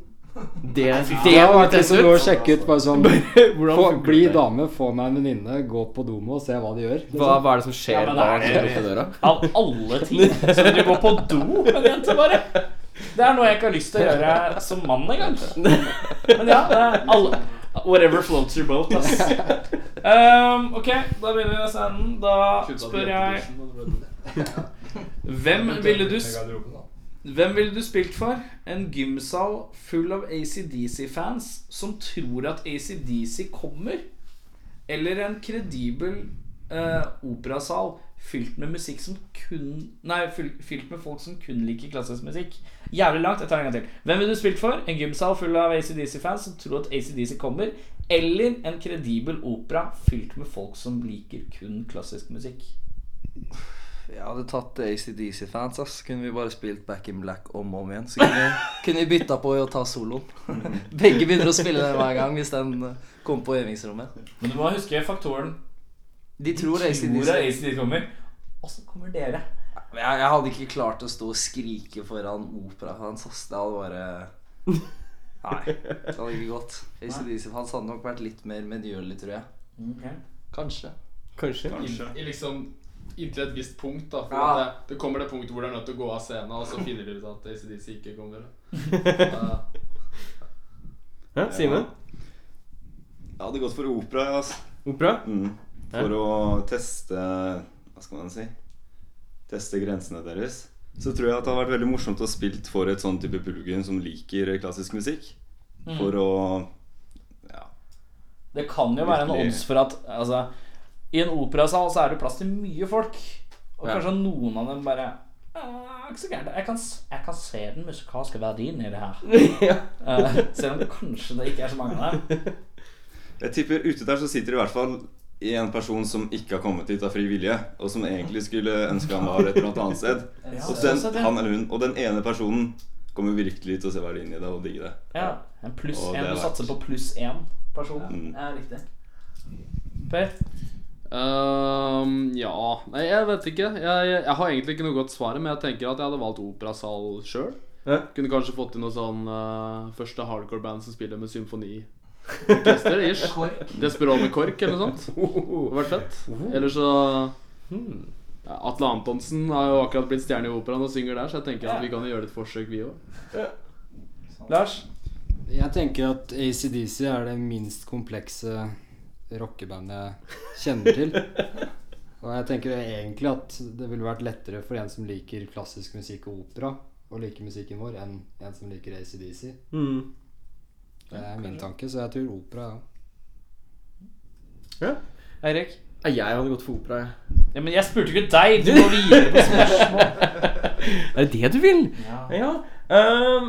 [SPEAKER 6] Det,
[SPEAKER 10] Det
[SPEAKER 6] det
[SPEAKER 10] har
[SPEAKER 6] må vi
[SPEAKER 10] vært liksom
[SPEAKER 6] teste
[SPEAKER 10] gå og
[SPEAKER 6] ut.
[SPEAKER 10] sjekke ut bare sånn
[SPEAKER 6] Hvordan
[SPEAKER 10] få,
[SPEAKER 6] funker
[SPEAKER 10] Bli
[SPEAKER 6] det?
[SPEAKER 10] dame, få meg en venninne, gå på do med og se hva de gjør. liksom.
[SPEAKER 6] Hva, hva er det som skjer
[SPEAKER 5] Ja, men
[SPEAKER 6] bak
[SPEAKER 5] det
[SPEAKER 6] ja,
[SPEAKER 5] er-
[SPEAKER 6] døra?
[SPEAKER 5] Av alle ting så vil du gå på do med en jente, bare. Det er noe jeg ikke har lyst til å gjøre som mann engang. Men ja, det er alle Whatever floats your boat, ass. Um, ok, da begynner vi neste enden. Da spør jeg Hvem ville du, s- hvem ville du spilt for? En gymsal full av ACDC-fans som tror at ACDC kommer? Eller en kredibel eh, operasal fylt med musikk som kun Nei, fyl- fylt med folk som kun liker klassisk musikk. Jævlig langt. Jeg tar en gang til. Hvem ville du spilt for? En gymsal full av ACDC-fans som tror at ACDC kommer? Eller en kredibel opera fylt med folk som liker kun klassisk musikk?
[SPEAKER 7] Jeg hadde tatt ACDC-fans, ass. Kunne vi bare spilt Back in Black om og om igjen. Så kunne vi, kunne vi bytta på i å ta soloen. Begge begynner å spille den hver gang hvis den eh, kommer på øvingsrommet.
[SPEAKER 5] Men du må huske faktoren
[SPEAKER 7] De tror
[SPEAKER 5] hvor
[SPEAKER 7] ACDC.
[SPEAKER 5] er ACDC kommer. Og så kommer dere.
[SPEAKER 7] Men Jeg, jeg hadde ikke klart å stå og skrike foran operafans, ass. Det hadde bare Nei. Det hadde ikke gått. ACDC-fans hadde nok vært litt mer medgjørlig, tror jeg.
[SPEAKER 5] Mm,
[SPEAKER 7] Kanskje.
[SPEAKER 6] Kanskje.
[SPEAKER 8] Kanskje.
[SPEAKER 9] I liksom Inntil et visst punkt, da. For
[SPEAKER 7] Ja.
[SPEAKER 9] at det, det kommer det punktet hvor det er nødt til å gå av scenen, og så finner de ut at ACDC ikke kommer. da.
[SPEAKER 6] Hæ, Simen?
[SPEAKER 8] Jeg hadde gått for opera. jeg, Altså.
[SPEAKER 6] Opera?
[SPEAKER 8] Mm. For
[SPEAKER 6] Ja.
[SPEAKER 8] å teste Hva skal man si? Teste grensene deres. Så tror jeg at det har vært veldig morsomt å spilt for et sånn type publikum som liker klassisk musikk. For å Ja.
[SPEAKER 5] Det kan jo være en
[SPEAKER 8] Virkelig.
[SPEAKER 5] odds for at altså, I en operasal så er det plass til mye folk. Og kanskje noen av dem bare «Ah, ikke så gærent. Jeg, kan, s- jeg kan se den musikalske verdien i det her. Eh, selv om det kanskje det ikke er så mange av dem.
[SPEAKER 8] Jeg tipper ute der så sitter det i hvert fall en person som ikke har kommet hit av fri vilje, og som egentlig skulle ønske han var et eller annet annet sted. Og den,
[SPEAKER 5] sånn sett, ja.
[SPEAKER 8] han eller hun, og den ene personen kommer virkelig til å se verdien i det og digge det.
[SPEAKER 5] Ja, en pluss
[SPEAKER 8] Og det
[SPEAKER 5] én.
[SPEAKER 8] er
[SPEAKER 5] Du
[SPEAKER 8] verdt. Mm.
[SPEAKER 5] satser på pluss én person. Ja, riktig. Per?
[SPEAKER 9] Ehm, ja Nei, jeg vet ikke. Jeg, jeg har egentlig ikke noe godt svar, men jeg tenker at jeg hadde valgt operasal sjøl.
[SPEAKER 6] Ja.
[SPEAKER 9] Kunne kanskje fått inn noe sånn eh, første hardcore-band som spiller med symfoniorkester. ish. Desperate med kork eller noe sånt.
[SPEAKER 6] Uh-huh.
[SPEAKER 9] Det hadde vært fett. Eller så
[SPEAKER 6] Hmm.
[SPEAKER 9] ja, Atle Antonsen har jo akkurat blitt stjerne i operaen og synger der, så jeg tenker at vi kan jo gjøre et forsøk, vi òg.
[SPEAKER 5] Lars?
[SPEAKER 10] Jeg tenker at ACDC er det minst komplekse rockebandet jeg kjenner til. Og jeg tenker egentlig at det ville vært lettere for en som liker klassisk musikk og opera, å like musikken vår, enn en som liker ACDC.
[SPEAKER 6] Mm.
[SPEAKER 10] Det er min tanke, så jeg tror opera, ja.
[SPEAKER 5] Eirik?
[SPEAKER 6] Nei, Jeg hadde gått for opera, jeg.
[SPEAKER 5] Ja, men jeg spurte ikke deg! Du må videre på spørsmål.
[SPEAKER 6] Er det det du vil?
[SPEAKER 5] Ja.
[SPEAKER 6] Ehm,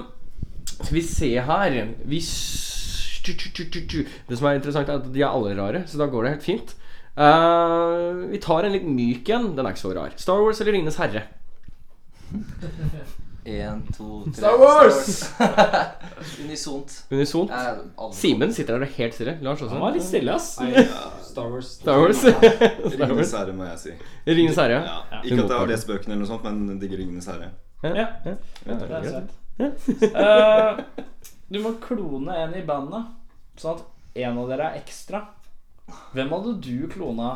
[SPEAKER 6] skal vi se her Vi s- tu, tu, tu, tu, tu. Det som er interessant, er at de er alle rare, så da går det helt fint. Ehm, vi tar en litt myk en. Den er ikke så rar. Star Wars eller Ringenes herre?
[SPEAKER 7] Én, to, tre
[SPEAKER 6] Star Wars!
[SPEAKER 7] Unisont.
[SPEAKER 6] Unisont.
[SPEAKER 7] Jeg er aldri-
[SPEAKER 6] Simen sitter der og er helt stille. Lars
[SPEAKER 5] Han
[SPEAKER 6] også.
[SPEAKER 5] var litt stille, ass.
[SPEAKER 10] Star Wars.
[SPEAKER 6] Star Wars. Star
[SPEAKER 8] Ringenes
[SPEAKER 6] Wars.
[SPEAKER 8] herre, må jeg si.
[SPEAKER 6] Ringenes herre.
[SPEAKER 8] Ja. Ikke at jeg har lest bøkene, eller noe sånt, men digger Ringenes herre.
[SPEAKER 6] Ja.
[SPEAKER 5] Ja.
[SPEAKER 6] Ja.
[SPEAKER 5] Det
[SPEAKER 6] Ja.
[SPEAKER 5] er
[SPEAKER 6] Ja.
[SPEAKER 5] sant. Eh, du må klone en i bandet, sånn at en av dere er ekstra. Hvem hadde du klona?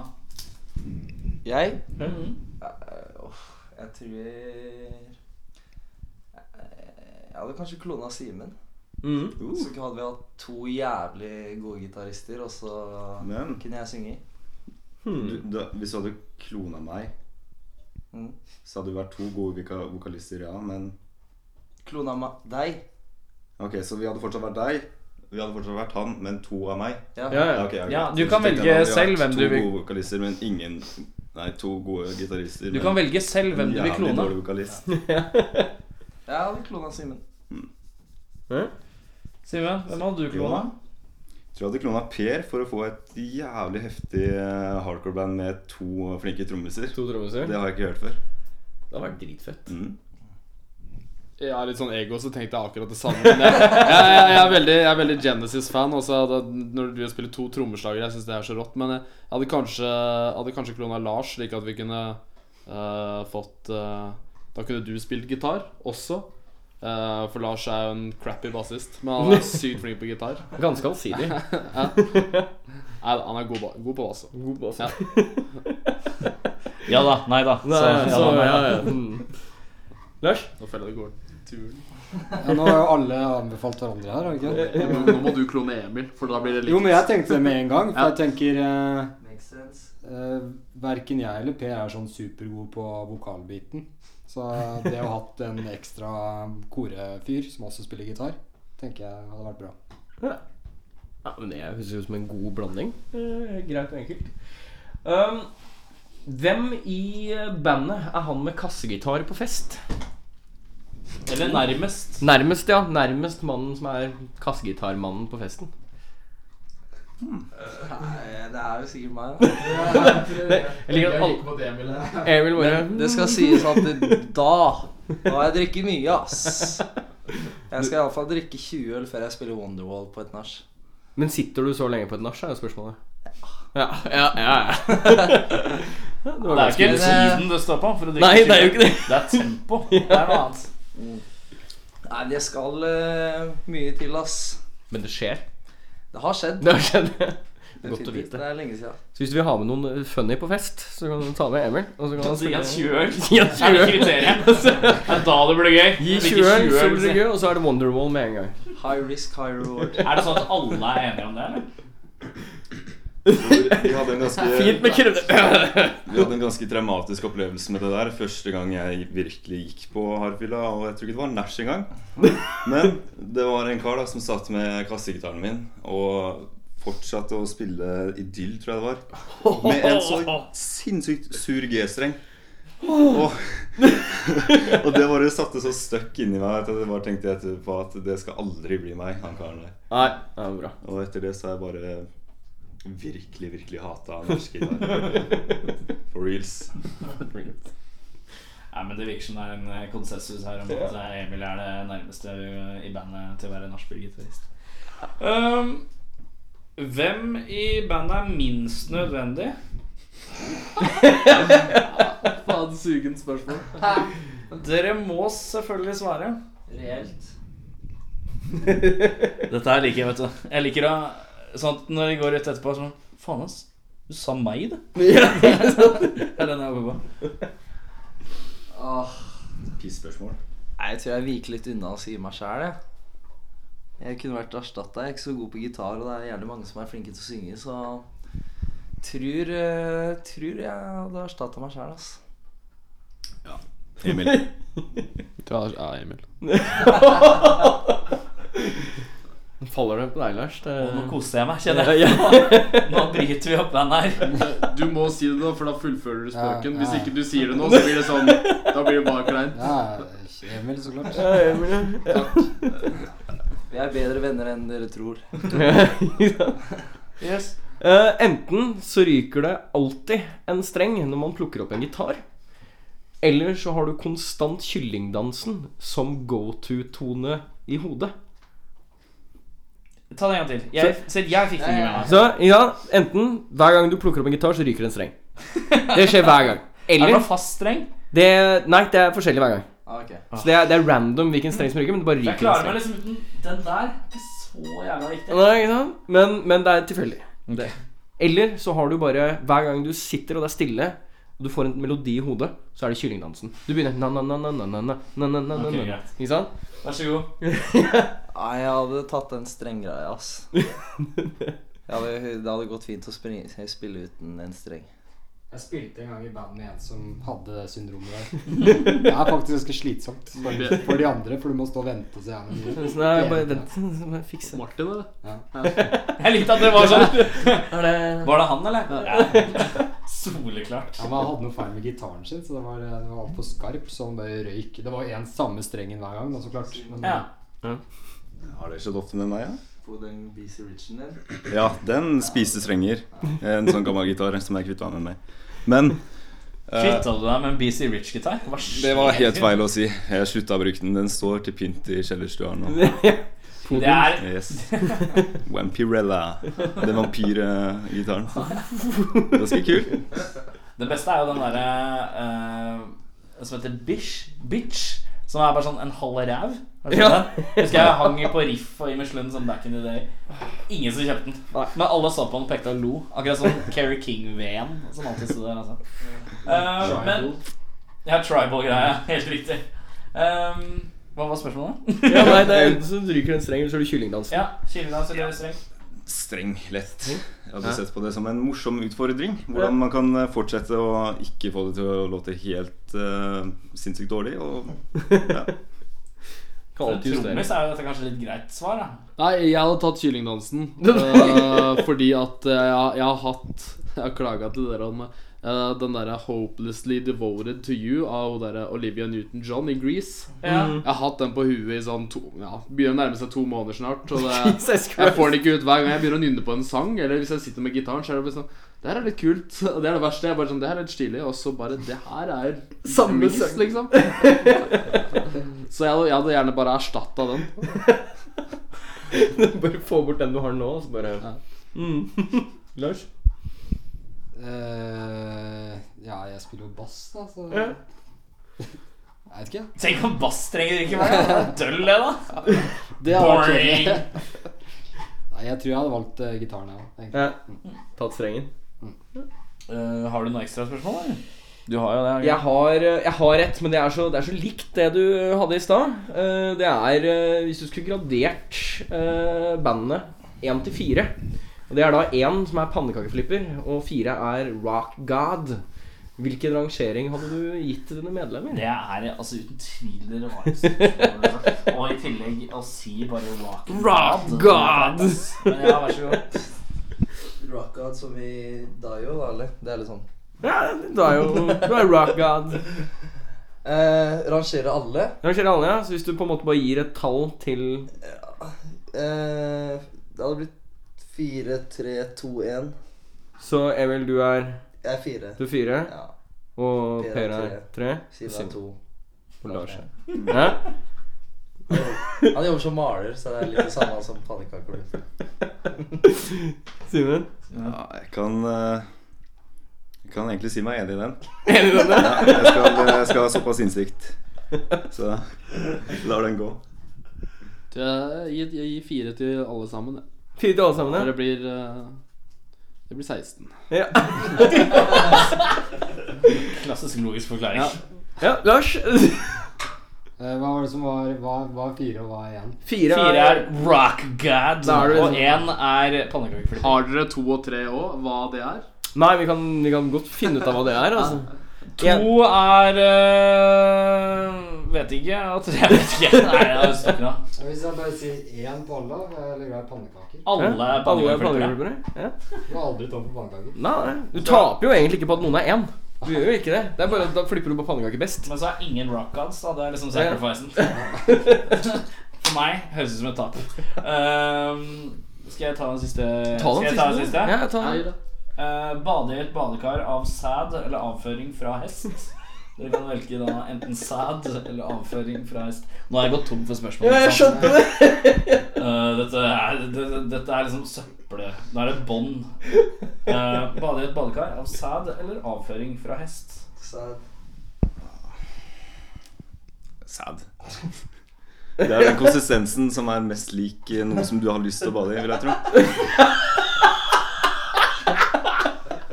[SPEAKER 7] Jeg
[SPEAKER 5] Mhm.
[SPEAKER 7] Eh, åh, Jeg tror Jeg jeg hadde kanskje klona Simen.
[SPEAKER 6] Mm.
[SPEAKER 7] Så hadde vi hatt to jævlig gode gitarister, og så
[SPEAKER 8] Men
[SPEAKER 7] kunne jeg synge.
[SPEAKER 8] du, da, hvis du hadde klona meg,
[SPEAKER 7] Mm.
[SPEAKER 8] så hadde du vært to gode voka vokalister, ja, men
[SPEAKER 7] Klona meg deg.
[SPEAKER 8] Ok, så vi hadde fortsatt vært deg. Vi hadde fortsatt vært han, men to av meg.
[SPEAKER 6] Ja, ja.
[SPEAKER 8] Ja, ok, ok.
[SPEAKER 5] Ja,
[SPEAKER 8] Så
[SPEAKER 5] du kan
[SPEAKER 8] tenkte jeg
[SPEAKER 5] velge
[SPEAKER 8] da, vi har
[SPEAKER 5] selv
[SPEAKER 8] vært
[SPEAKER 5] hvem du vil-
[SPEAKER 8] To gode vokalister, men ingen Nei, to gode gitarister.
[SPEAKER 5] Du kan velge selv hvem du vil klone.
[SPEAKER 8] Jævlig dårlig vokalist.
[SPEAKER 7] Jeg hadde klona Simen.
[SPEAKER 5] Simen, hvem hadde du klona?
[SPEAKER 8] Tror jeg hadde klona Per for å få et jævlig heftig eh, hardcore-band med to flinke trommiser.
[SPEAKER 6] To trommiser.
[SPEAKER 8] Det
[SPEAKER 6] Det
[SPEAKER 8] har jeg ikke hørt før.
[SPEAKER 6] hadde vært dritfett.
[SPEAKER 8] Mm.
[SPEAKER 9] Jeg er litt sånn ego, så tenkte jeg akkurat det samme. Men jeg, jeg, jeg, jeg er veldig, jeg er veldig Genesis-fan. Og så hadde- når du spiller to trommeslagere, jeg syns det er så rått. Men jeg hadde kanskje, hadde kanskje klona Lars, slik at vi kunne eh, fått eh, Da kunne du spilt gitar også. Eh, for Lars er jo en crappy bassist, men han er sykt flink på gitar.
[SPEAKER 6] Ganske allsidig.
[SPEAKER 9] Nei, han er god, ba- god på bass.
[SPEAKER 6] God bass.
[SPEAKER 9] Ja.
[SPEAKER 5] Ja da, nei da.
[SPEAKER 6] Nei, så, ja, ja. Mm. Lars?
[SPEAKER 9] Nå føler jeg det går turen.
[SPEAKER 10] Ja, nå har jo alle anbefalt hverandre her, har de ikke?
[SPEAKER 9] Nå, nå må du klone Emil, for da blir det likt.
[SPEAKER 10] Jo, men jeg tenkte det med en gang, for
[SPEAKER 9] Ja.
[SPEAKER 10] jeg tenker eh,
[SPEAKER 7] Makes sense.
[SPEAKER 10] Eh, verken jeg eller Per er sånn supergod på vokalbiten. Så det å ha hatt en ekstra korefyr som også spiller gitar, tenker jeg hadde vært bra.
[SPEAKER 6] Ja, men det høres jo ut som en god blanding. Eh, greit og enkelt. Um, Hvem i bandet er han med kassegitar på fest?
[SPEAKER 5] Eller nærmest.
[SPEAKER 6] Nærmest, ja. Nærmest mannen som er kassegitarmannen på festen.
[SPEAKER 7] Nei, det er jo sikkert meg. da.
[SPEAKER 6] Jeg liker at alle Emil bare
[SPEAKER 7] Det skal sies at det- da Da har jeg drukket mye, ass. Jeg skal iallfall drikke 20 øl før jeg spiller Wonderwall på et nach.
[SPEAKER 6] Men sitter du så lenge på et nach, er jo spørsmålet. Ja, ja, ja. ja. det, var ganske-
[SPEAKER 5] Det er ikke
[SPEAKER 7] Men, eh,
[SPEAKER 5] tiden det står på. For å drikke
[SPEAKER 6] Nei, det er jo ikke det.
[SPEAKER 5] Det er tempo. Det er noe annet.
[SPEAKER 7] Nei, det skal eh, mye til, ass.
[SPEAKER 6] Men det skjer.
[SPEAKER 7] Det har skjedd.
[SPEAKER 6] Det har skjedd. Godt å
[SPEAKER 7] definitivt.
[SPEAKER 6] vite.
[SPEAKER 7] Det er lenge siden.
[SPEAKER 6] Så hvis du vil ha med noen eh, funny på fest, så kan du ta med Emil. Og så kan han
[SPEAKER 5] Gi
[SPEAKER 6] spille-
[SPEAKER 5] oss 20 øl.
[SPEAKER 6] Gi oss
[SPEAKER 5] Det er det
[SPEAKER 6] 20 øl.
[SPEAKER 5] kriteriet.
[SPEAKER 7] Altså,
[SPEAKER 5] Det er da det blir gøy.
[SPEAKER 6] Gi
[SPEAKER 5] Drikke
[SPEAKER 6] 20 øl, så blir
[SPEAKER 5] sier
[SPEAKER 6] det gøy, og så er det Wonderwall med en gang.
[SPEAKER 7] High risk, high reward.
[SPEAKER 5] jeg. Er det sånn at alle er enige om det, eller?
[SPEAKER 8] Vi hadde en ganske
[SPEAKER 6] Fint med krøller.
[SPEAKER 8] Vi hadde en ganske traumatisk opplevelse med det der. Første gang jeg virkelig gikk på hardfylla. Og jeg tror ikke det var nach engang. Men det var en kar da som satt med kassegitaren min og fortsatte å spille Idyll, tror jeg det var. Med en så sinnssykt sur G-streng. Og, og det bare satte så støkk inni meg at jeg bare tenkte etterpå at det skal aldri bli meg, han karen der.
[SPEAKER 6] Nei, det er bra.
[SPEAKER 8] Og etter det så har jeg bare virkelig, virkelig hata norsk gitar. For reals.
[SPEAKER 5] Nei, men Det virker som det er en eh, konsensus her om at eh, Emil er det nærmeste eh, i bandet til å være nachspiel-gitarist. Um, hvem i bandet er minst nødvendig?
[SPEAKER 7] Faen, sugent spørsmål.
[SPEAKER 5] Dere må selvfølgelig svare.
[SPEAKER 7] Reelt.
[SPEAKER 5] Dette her liker jeg, vet du. Jeg liker å Sånn at når de går ut etterpå, sånn Faen, ass. Du sa meg, du. det er den jeg håper på.
[SPEAKER 7] Åh.
[SPEAKER 8] Pissspørsmål.
[SPEAKER 7] Nei, Jeg tror jeg viker litt unna og sier meg sjæl, jeg. Jeg kunne vært erstatta. Jeg er ikke så god på gitar, og det er gjerne mange som er flinke til å synge, så Tror, eh, tror jeg hadde erstatta meg sjæl, ass.
[SPEAKER 8] Emil.
[SPEAKER 10] Ja, Emil.
[SPEAKER 6] Faller det på deg, Lars? Det...
[SPEAKER 5] Nå koser jeg meg, kjenner jeg. Nå bryter vi opp bandet her.
[SPEAKER 10] Du må si det, da, for da fullfører du
[SPEAKER 5] spøken.
[SPEAKER 10] Hvis
[SPEAKER 5] Hvis ikke du sier det nå, så blir det sånn. Da blir det bare kleint.
[SPEAKER 10] Ja, Emil, så klart.
[SPEAKER 7] Vi er bedre venner enn dere tror.
[SPEAKER 6] yes. Eh, enten så ryker det alltid en streng når man plukker opp en gitar. Eller så har du konstant kyllingdansen som go to-tone i hodet.
[SPEAKER 5] Ta det en gang til. Jeg, selv jeg fikk det ikke med meg.
[SPEAKER 6] Så ja, enten hver gang du plukker opp en gitar, så ryker det en streng. Det skjer hver gang.
[SPEAKER 5] Er det
[SPEAKER 6] Eller
[SPEAKER 5] noe fast streng?
[SPEAKER 6] det, Nei, det er forskjellig hver gang.
[SPEAKER 7] Ah, ok.
[SPEAKER 6] Så det er, det er random hvilken streng som ryker, men det bare
[SPEAKER 5] Jeg
[SPEAKER 6] ryker en
[SPEAKER 5] klarer meg
[SPEAKER 6] streng.
[SPEAKER 5] liksom uten Den der er ikke så jævla viktig.
[SPEAKER 6] Nei, ikke sant? Men, men det er tilfeldig. Eller så har du bare Hver gang du sitter og det er stille, og du får en melodi i hodet, så er det kyllingdansen. Du begynner
[SPEAKER 5] Ok,
[SPEAKER 6] na-na-na-na-na-na-na-na-na-na.
[SPEAKER 5] greit.
[SPEAKER 6] Ikke sant?
[SPEAKER 5] Vær så god.
[SPEAKER 7] Nei, jeg hadde tatt den strenggreia, ass. Jeg hadde, det hadde gått fint å springe, spille uten en streng.
[SPEAKER 10] Jeg spilte en gang i band med en som hadde det syndromet der. Det er faktisk ganske slitsomt for, for de andre, for du må stå og vente så jævlig mye.
[SPEAKER 6] Så det er bare vent, så må jeg fikse det.
[SPEAKER 5] Martin, eller?
[SPEAKER 10] Ja.
[SPEAKER 5] Jeg likte at det var sånn. Var det han, eller? Ja. Soleklart.
[SPEAKER 10] Ja, men han hadde noe feil med gitaren sin, så det var, det var altfor skarp, så han bare røyk. Det var én samme strengen hver gang, da, så klart. Men,
[SPEAKER 5] Ja.
[SPEAKER 8] Har det skjedd ofte med meg, ja?
[SPEAKER 7] På den BC Richen der.
[SPEAKER 8] Ja, den spiste strenger. En sånn gammel gitar som jeg kvitta meg med. Men eh,
[SPEAKER 5] Kvitta du deg med en BC Rich-gitar? Hva
[SPEAKER 8] det var helt
[SPEAKER 5] skjer?
[SPEAKER 8] feil å si. Jeg slutta å bruke den. Den står til pynt i kjellerstua nå.
[SPEAKER 5] Det er
[SPEAKER 8] Yes. Vampirella. Den vampyrgitaren. Ganske kul.
[SPEAKER 5] Det beste er jo den derre eh, som heter Bish. Bitch. Som er bare sånn en halv ræv. Har du sett
[SPEAKER 6] Ja.
[SPEAKER 5] den? Husker jeg hang på Riff og i Michelin sånn back in the day. Ingen som kjøpte den. Men alle så på den og pekte og lo. Akkurat sånn Keri King-veen som alltid sto der. Altså. Eh, men Ja, tribal-greia. Helt riktig. Ehm, hva var spørsmålet?
[SPEAKER 6] Ja, nei, det er Enten så ryker det en streng, eller så er det kyllingdansen.
[SPEAKER 5] ja, Kildenans eller streng?
[SPEAKER 8] Streng lett.
[SPEAKER 5] Mm.
[SPEAKER 8] Jeg hadde sett på det som en morsom utfordring. Hvordan man kan eh, fortsette å ikke få det til å låte helt eh, sinnssykt dårlig. Og
[SPEAKER 5] Mm.
[SPEAKER 6] Kan
[SPEAKER 5] For en
[SPEAKER 6] alltid justere.
[SPEAKER 5] Trommis er jo dette kanskje litt greit svar, da.
[SPEAKER 10] Nei, jeg hadde tatt
[SPEAKER 9] eh,
[SPEAKER 10] kyllingdansen. øh, fordi at øh, jeg, jeg har hatt Jeg har klaga til dere om
[SPEAKER 9] eh, den derre 'Hopelessly Devoted to You' av hun derre Olivia Newton-John i Grease.
[SPEAKER 11] Ja.
[SPEAKER 6] Mm.
[SPEAKER 9] Jeg har hatt den på huet i sånn to, ja, begynner å nærme seg to måneder snart. Og det, jeg får den ikke ut hver gang jeg begynner å nynne på en sang. Eller hvis jeg sitter med gitaren, så er det bare sånn Det her er litt kult. Og det er det verste. Jeg er bare sånn Det her er litt stilig. Og så bare Det her er
[SPEAKER 6] Samme
[SPEAKER 9] Grease,
[SPEAKER 6] sang.
[SPEAKER 9] liksom. Så jeg, hadde- jeg hadde gjerne bare erstatta den.
[SPEAKER 6] Bare få bort den du har nå, og så bare
[SPEAKER 9] Ja.
[SPEAKER 6] mm. Lars?
[SPEAKER 10] Eh, ja, jeg spiller jo bass, da, så
[SPEAKER 11] Ja.
[SPEAKER 10] Jeg vet ikke.
[SPEAKER 11] Tenk om basstrenger ikke var det. Døll, det, da.
[SPEAKER 10] Det hadde vært
[SPEAKER 11] Boring.
[SPEAKER 10] kjedelig. Nei, jeg tror jeg hadde valgt eh, gitaren, jeg Mm. òg.
[SPEAKER 6] Ja. Tatt strengen.
[SPEAKER 11] Eh, har du noe ekstra spørsmål, eller? Du har jo det.
[SPEAKER 6] Jeg har, eh, jeg har et, men det er, så, det er så likt det du hadde i stad. Eh, Det er eh, hvis du skulle gradert eh, bandene én til fire Og det er da én som er pannekakeflipper, og fire er rock god. Hvilken rangering hadde du gitt til dine medlemmer?
[SPEAKER 5] Det er altså uten tvil det rareste spørsmålet. Og i tillegg å si bare rock
[SPEAKER 6] Rock god!
[SPEAKER 5] Men ja, vær så god.
[SPEAKER 7] Rockad som i Dayo, da, eller? Det er litt sånn.
[SPEAKER 6] Ja, du er jo du er rock god.
[SPEAKER 7] Eh, rangere alle?
[SPEAKER 6] Rangerer alle, ja. Så hvis du på en måte bare gir et tall til
[SPEAKER 7] Eh, det hadde blitt 4, 3, 2, 1.
[SPEAKER 6] Så Emil, du er
[SPEAKER 7] Jeg er 4.
[SPEAKER 6] du er fire,
[SPEAKER 7] Ja.
[SPEAKER 6] og
[SPEAKER 7] Per er
[SPEAKER 6] Per er tre.
[SPEAKER 7] Siv er 2.
[SPEAKER 6] Og Lars er Hæ?
[SPEAKER 7] Han jobber som maler, så det er litt det samme som pannekaker.
[SPEAKER 6] Simen?
[SPEAKER 8] Ja, jeg kan eh, Jeg kan egentlig si meg enig i den.
[SPEAKER 6] Enig i denne?
[SPEAKER 8] Ja, jeg, skal, eh, jeg skal ha såpass innsikt. Så lar den gå.
[SPEAKER 9] Jeg gir, jeg gir fire til alle sammen. jeg.
[SPEAKER 6] Fire til alle sammen,
[SPEAKER 9] For
[SPEAKER 6] ja?
[SPEAKER 9] det blir eh, Det blir 16.
[SPEAKER 6] Ja.
[SPEAKER 5] Klassisk logisk forklaring.
[SPEAKER 9] Ja.
[SPEAKER 6] ja Lars?
[SPEAKER 10] Eh, hva var det som var Hva var fire, og hva er én?
[SPEAKER 6] Fire
[SPEAKER 5] Fire er rock god,
[SPEAKER 6] Da er det
[SPEAKER 5] og
[SPEAKER 6] liksom-
[SPEAKER 5] én er pannekakeflipper.
[SPEAKER 9] Har dere to og tre òg, hva det er?
[SPEAKER 6] Nei, vi kan, vi kan godt finne ut av hva det er, altså. En-
[SPEAKER 5] To er øh, Vet ikke. Og tre vet ikke. Nei, jeg har ikke noe.
[SPEAKER 10] Hvis jeg bare sier én på alle, eller glad i pannekaker.
[SPEAKER 5] Alle er
[SPEAKER 6] Alle er
[SPEAKER 5] pannekakeflipper.
[SPEAKER 6] pannekakeflippere? Ja.
[SPEAKER 10] Jeg var aldri tom for pannekaker.
[SPEAKER 6] Nei, nei. Du taper jo egentlig ikke på at noen er én. Du gjør jo ikke det. Det er bare at Da flipper du på pannekaker best.
[SPEAKER 5] Men så er ingen rock gods, da. Det er liksom sacrificen. For meg høres ut som et tap. Ehm, skal jeg ta den siste?
[SPEAKER 6] Ta den
[SPEAKER 5] skal jeg ta den
[SPEAKER 6] siste.
[SPEAKER 5] siste?
[SPEAKER 6] Ja, jeg tar
[SPEAKER 9] Nei
[SPEAKER 6] den.
[SPEAKER 9] da.
[SPEAKER 5] Eh, bade i et badekar av sæd eller avføring fra hest. Dere kan velge da enten sæd eller avføring fra hest. Nå har jeg gått tom for spørsmål.
[SPEAKER 6] Ja, jeg
[SPEAKER 5] ikke sant?
[SPEAKER 6] skjønte det.
[SPEAKER 5] Eh, dette, er, det- dette er liksom søppel. Nå er det bånd. Eh, bade i et badekar av sæd eller avføring fra hest.
[SPEAKER 8] Sad. Det er den konsistensen som er mest lik eh, noe som du har lyst til å bade i, vil jeg tro.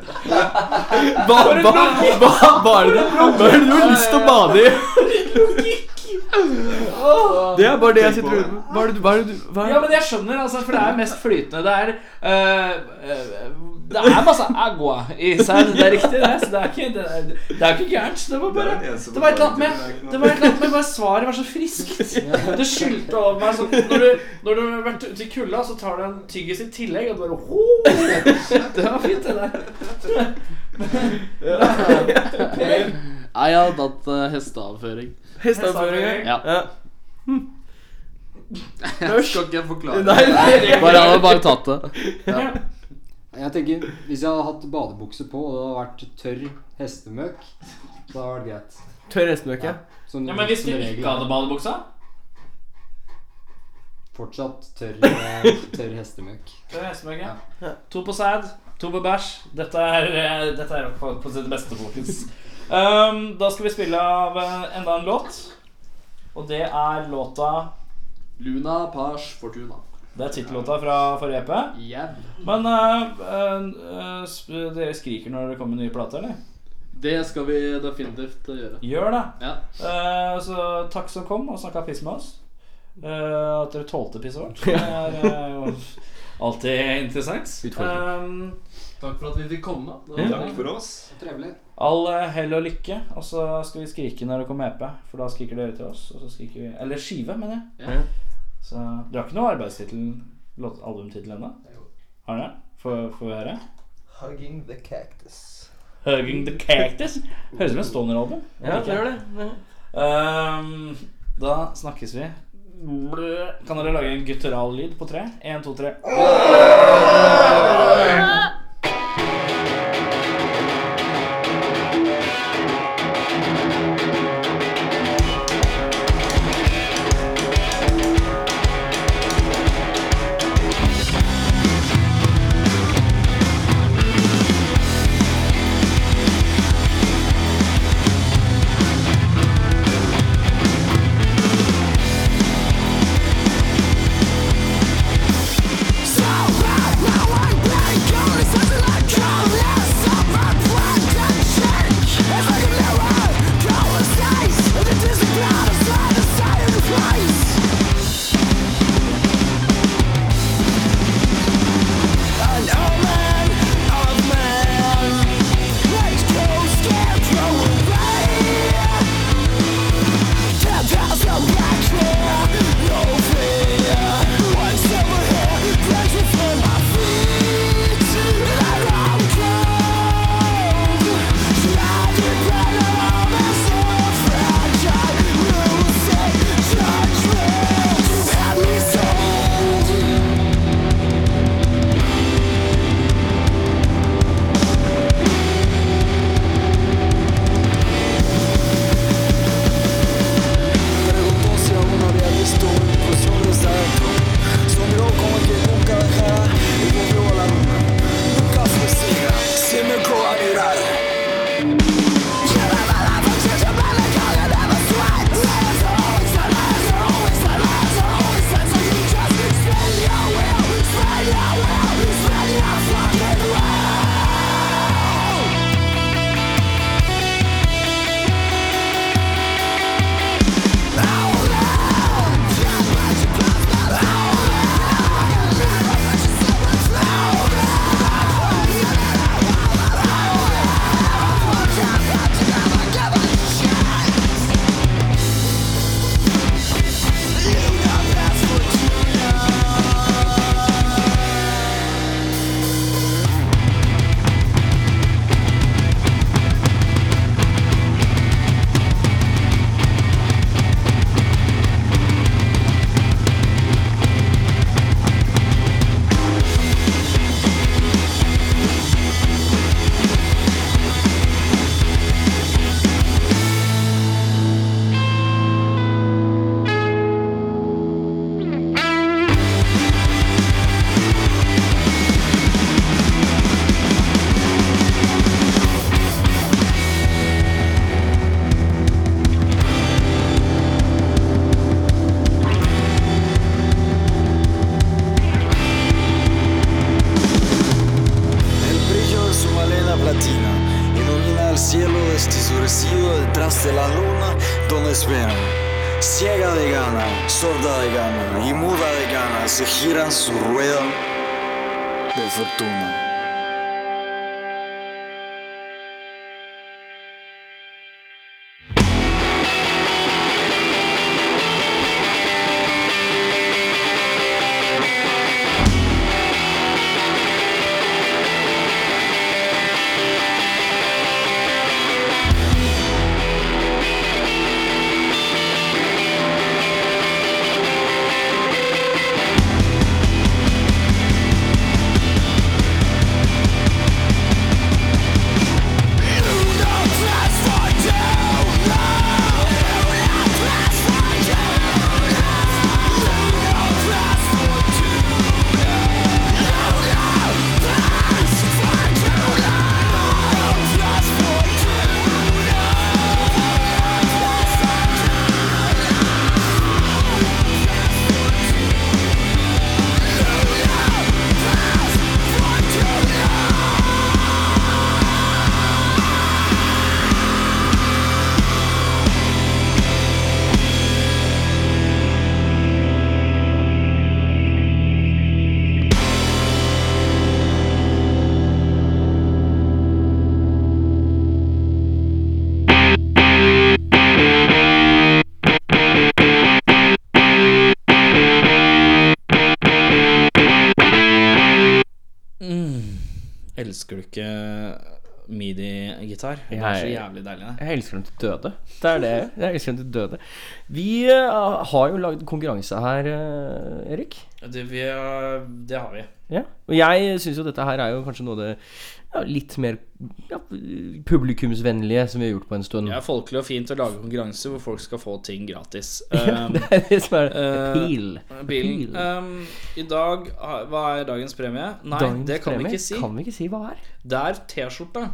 [SPEAKER 6] Hva hva- hva- hva er det hva er det du har lyst til å bade i? Det er bare det jeg sitter ute med. Hva er det du hva er det du- hva
[SPEAKER 5] Ja,
[SPEAKER 6] er
[SPEAKER 5] men jeg skjønner, altså, for det er mest flytende. Det er eh, eh, Det er masse agua i sæd. Det er riktig, det. Så det er ikke, det er, det er ikke gærent. Det var bare
[SPEAKER 8] Det er den eneste
[SPEAKER 5] Det var et eller annet
[SPEAKER 8] forklaringen til det, det er ikke noe-
[SPEAKER 5] med Det var et eller annet med bare svaret var så friskt. Det skylte over meg sånn Når du, når du har vært ute i kulda, så tar du en tyggis i tillegg, og du bare «Ho!» Det var fint, det der.
[SPEAKER 9] Nei, jeg har tatt eh, hesteavføring.
[SPEAKER 6] Hesteavføring?
[SPEAKER 9] Ja. Jeg skal ikke forklare
[SPEAKER 6] Nei, det er-
[SPEAKER 9] Bare jeg hadde bare tatt det.
[SPEAKER 10] Jeg tenker, Hvis jeg hadde hatt badebukse på og det hadde vært tørr hestemøkk, så hadde det vært greit.
[SPEAKER 6] Tørr hestemøkk, ja.
[SPEAKER 10] Som,
[SPEAKER 5] Ja, men hvis du
[SPEAKER 10] som regel
[SPEAKER 5] ikke
[SPEAKER 10] er
[SPEAKER 5] hadde badebuksa
[SPEAKER 10] Fortsatt tørr, eh, tørr hestemøkk.
[SPEAKER 5] Det er hestemøkk, ja. To på sæd, to på bæsj. Dette er, eh, dette er på, på sitt beste, folkens. Um, da skal vi spille av eh, enda en låt. Og det er låta
[SPEAKER 9] Luna Pars Fortuna.
[SPEAKER 5] Det er tittellåta fra forrige EP.
[SPEAKER 9] Yeah.
[SPEAKER 5] Men eh, eh, eh, sp- dere skriker når det kommer nye plater, eller?
[SPEAKER 9] Det skal vi definitivt eh, gjøre.
[SPEAKER 5] Gjør det.
[SPEAKER 9] Ja.
[SPEAKER 5] Eh, så takk som kom og snakka piss med oss. Eh, at dere tålte pisset vårt. Det er eh, jo alltid interessant.
[SPEAKER 6] Utfordring.
[SPEAKER 5] Eh,
[SPEAKER 9] Takk for at vi fikk komme. Det var
[SPEAKER 8] Takk for oss.
[SPEAKER 10] Trevelig.
[SPEAKER 5] all eh, hell og lykke, og så skal vi skrike når det kommer EP. For da skriker dere til oss, og så skriker vi Eller skive, mener jeg.
[SPEAKER 9] Ja.
[SPEAKER 5] Så du har ikke noe arbeidstittel, låt- albumtittel ennå? Har du det? Får får vi høre?
[SPEAKER 7] Hugging the cactus.
[SPEAKER 5] Hugging the Cactus. Høres ut som en stoner-album.
[SPEAKER 7] Ja, det gjør
[SPEAKER 5] det. Ehm, da snakkes vi. Kan dere lage en guttural lyd på tre? Én, to, tre.
[SPEAKER 12] El brillo de su malena platina ilumina el cielo destisurecido detrás de la luna donde esperan. Ciega de gana, sorda de gana y muda de gana se giran su rueda de fortuna.
[SPEAKER 5] Mm.
[SPEAKER 7] Elsker du ikke
[SPEAKER 5] midi-gitar. Det er så jævlig deilig. det.
[SPEAKER 6] Jeg elsker dem til døde. Det er det. Jeg elsker dem til døde. Vi eh, har jo lagd konkurranse her, eh, Erik.
[SPEAKER 5] Det, vi, eh, det har vi.
[SPEAKER 6] Ja. Og jeg syns jo dette her er jo kanskje noe av det ja, litt mer ja, publikumsvennlige som vi har gjort på en stund.
[SPEAKER 5] Det er folkelig og fint å lage konkurranse hvor folk skal få ting gratis. Um,
[SPEAKER 6] det er det som er
[SPEAKER 5] eh,
[SPEAKER 6] appeal. Appeal.
[SPEAKER 5] Bilen. Um, I dag har- Hva er dagens premie? Nei,
[SPEAKER 6] Dagens
[SPEAKER 5] det kan
[SPEAKER 6] premie
[SPEAKER 5] vi ikke si.
[SPEAKER 6] Kan vi ikke si hva er?
[SPEAKER 5] Det er T-skjorte.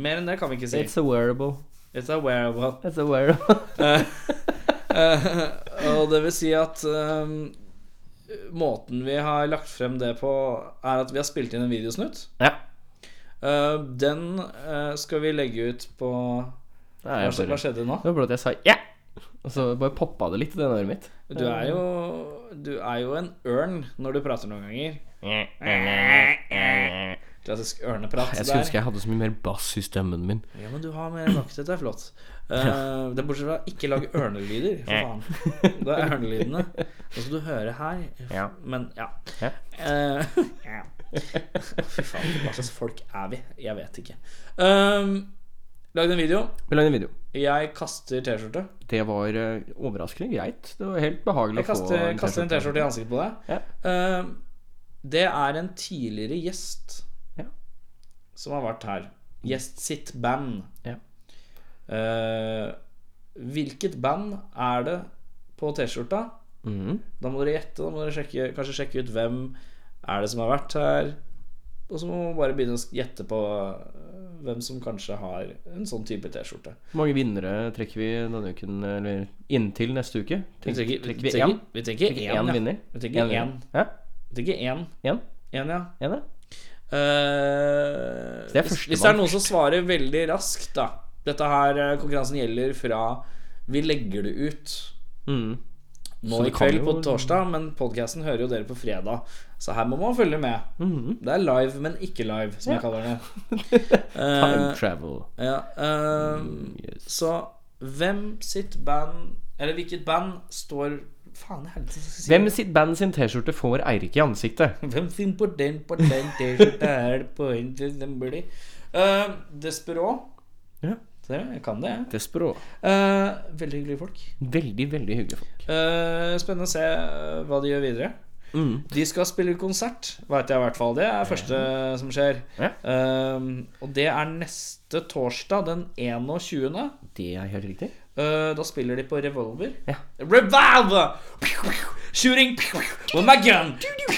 [SPEAKER 5] Mer enn det kan vi ikke si.
[SPEAKER 6] It's a wearable.
[SPEAKER 5] It's a wearable.
[SPEAKER 6] It's a wearable.
[SPEAKER 5] Eh, eh, og det vil si at um, måten vi har lagt frem det på, er at vi har spilt inn en videosnutt.
[SPEAKER 6] Ja.
[SPEAKER 5] Eh, den eh, skal vi legge ut på
[SPEAKER 6] Nei,
[SPEAKER 5] hva,
[SPEAKER 6] jeg
[SPEAKER 5] skje-
[SPEAKER 6] bare-
[SPEAKER 5] hva skjedde nå?
[SPEAKER 6] Det var bare at jeg sa ja, og så bare poppa det litt i det øret mitt.
[SPEAKER 5] Du er jo, du er jo en ørn når du prater noen ganger. Klassisk ørneprat.
[SPEAKER 6] Jeg
[SPEAKER 5] der.
[SPEAKER 6] skulle ønske jeg hadde så mye mer bass i stemmen min.
[SPEAKER 5] Ja, men du har mer vakt, dette er flott. Eh, det er Bortsett fra ikke lage ørnelyder, for faen. Det er ørnelydene. Nå skal du høre her.
[SPEAKER 6] Ja.
[SPEAKER 5] Men ja.
[SPEAKER 6] Ja.
[SPEAKER 5] Eh, Fy faen, hva slags folk er vi? Jeg vet ikke. Um, lagde en video.
[SPEAKER 6] Vi lagde en video.
[SPEAKER 5] Jeg kaster T-skjorte.
[SPEAKER 6] Det var eh, overraskende greit. Det var helt behagelig
[SPEAKER 5] Jeg kaster,
[SPEAKER 6] å få
[SPEAKER 5] kaster en T-skjorte i ansiktet på deg. Eh, det er en tidligere gjest som har vært her. Gjest sitt band.
[SPEAKER 6] Mm. Ja.
[SPEAKER 5] Eh, hvilket band er det på T-skjorta?
[SPEAKER 6] Mhm.
[SPEAKER 5] Da må dere gjette. Da må dere sjekke, kanskje sjekke ut hvem er det som har vært her. Og så må man bare begynne å gjette på eh, hvem som kanskje har en sånn type T-skjorte.
[SPEAKER 6] Hvor mange vinnere trekker vi denne uken, eller inntil neste uke?
[SPEAKER 5] Vi trekker- vi
[SPEAKER 6] vi
[SPEAKER 5] trekker-
[SPEAKER 6] én?
[SPEAKER 5] vi trekker én, ja.
[SPEAKER 6] vinner.
[SPEAKER 5] Vi trekker
[SPEAKER 6] En vinner.
[SPEAKER 5] én.
[SPEAKER 6] Hæ?
[SPEAKER 5] Det er ikke én.
[SPEAKER 6] Én?
[SPEAKER 5] Én, ja.
[SPEAKER 6] En, ja.
[SPEAKER 5] Eh,
[SPEAKER 6] Så det er
[SPEAKER 5] hvis,
[SPEAKER 6] førstemann
[SPEAKER 5] hvis det er noen som svarer veldig raskt, da Dette her eh, konkurransen gjelder fra vi legger det ut
[SPEAKER 6] Mm.
[SPEAKER 5] nå
[SPEAKER 6] Så
[SPEAKER 5] i
[SPEAKER 6] det kan
[SPEAKER 5] kveld på
[SPEAKER 6] jo-
[SPEAKER 5] torsdag, men podkasten hører jo dere på fredag. Så her må man følge med.
[SPEAKER 6] Mhm.
[SPEAKER 5] Det er live, men ikke live, som jeg kaller det.
[SPEAKER 6] Time
[SPEAKER 5] Eh,
[SPEAKER 6] travel.
[SPEAKER 5] Ja, eh, Så hvem sitt band Eller hvilket band står Faen i helvete. hva skal jeg si?
[SPEAKER 6] Hvem sitt band sin T-skjorte får Eirik i ansiktet?
[SPEAKER 5] Hvem sin på den på den T-skjorta er det på en til den blir de. Eh, Desperå.
[SPEAKER 6] Ja.
[SPEAKER 5] Se, jeg kan det, jeg.
[SPEAKER 6] Desperå.
[SPEAKER 5] Eh, veldig hyggelige folk.
[SPEAKER 6] Veldig, veldig hyggelige folk.
[SPEAKER 5] Eh, spennende å se eh, hva de gjør videre.
[SPEAKER 6] Mm.
[SPEAKER 5] De skal spille konsert, veit jeg i hvert fall. Det er første som skjer.
[SPEAKER 6] Ja.
[SPEAKER 5] Eh, og det er neste torsdag, den 21.
[SPEAKER 6] Det er helt riktig.
[SPEAKER 5] Eh, da spiller de på Revolver.
[SPEAKER 6] Ja.
[SPEAKER 5] Revolver! Shooting with my gun!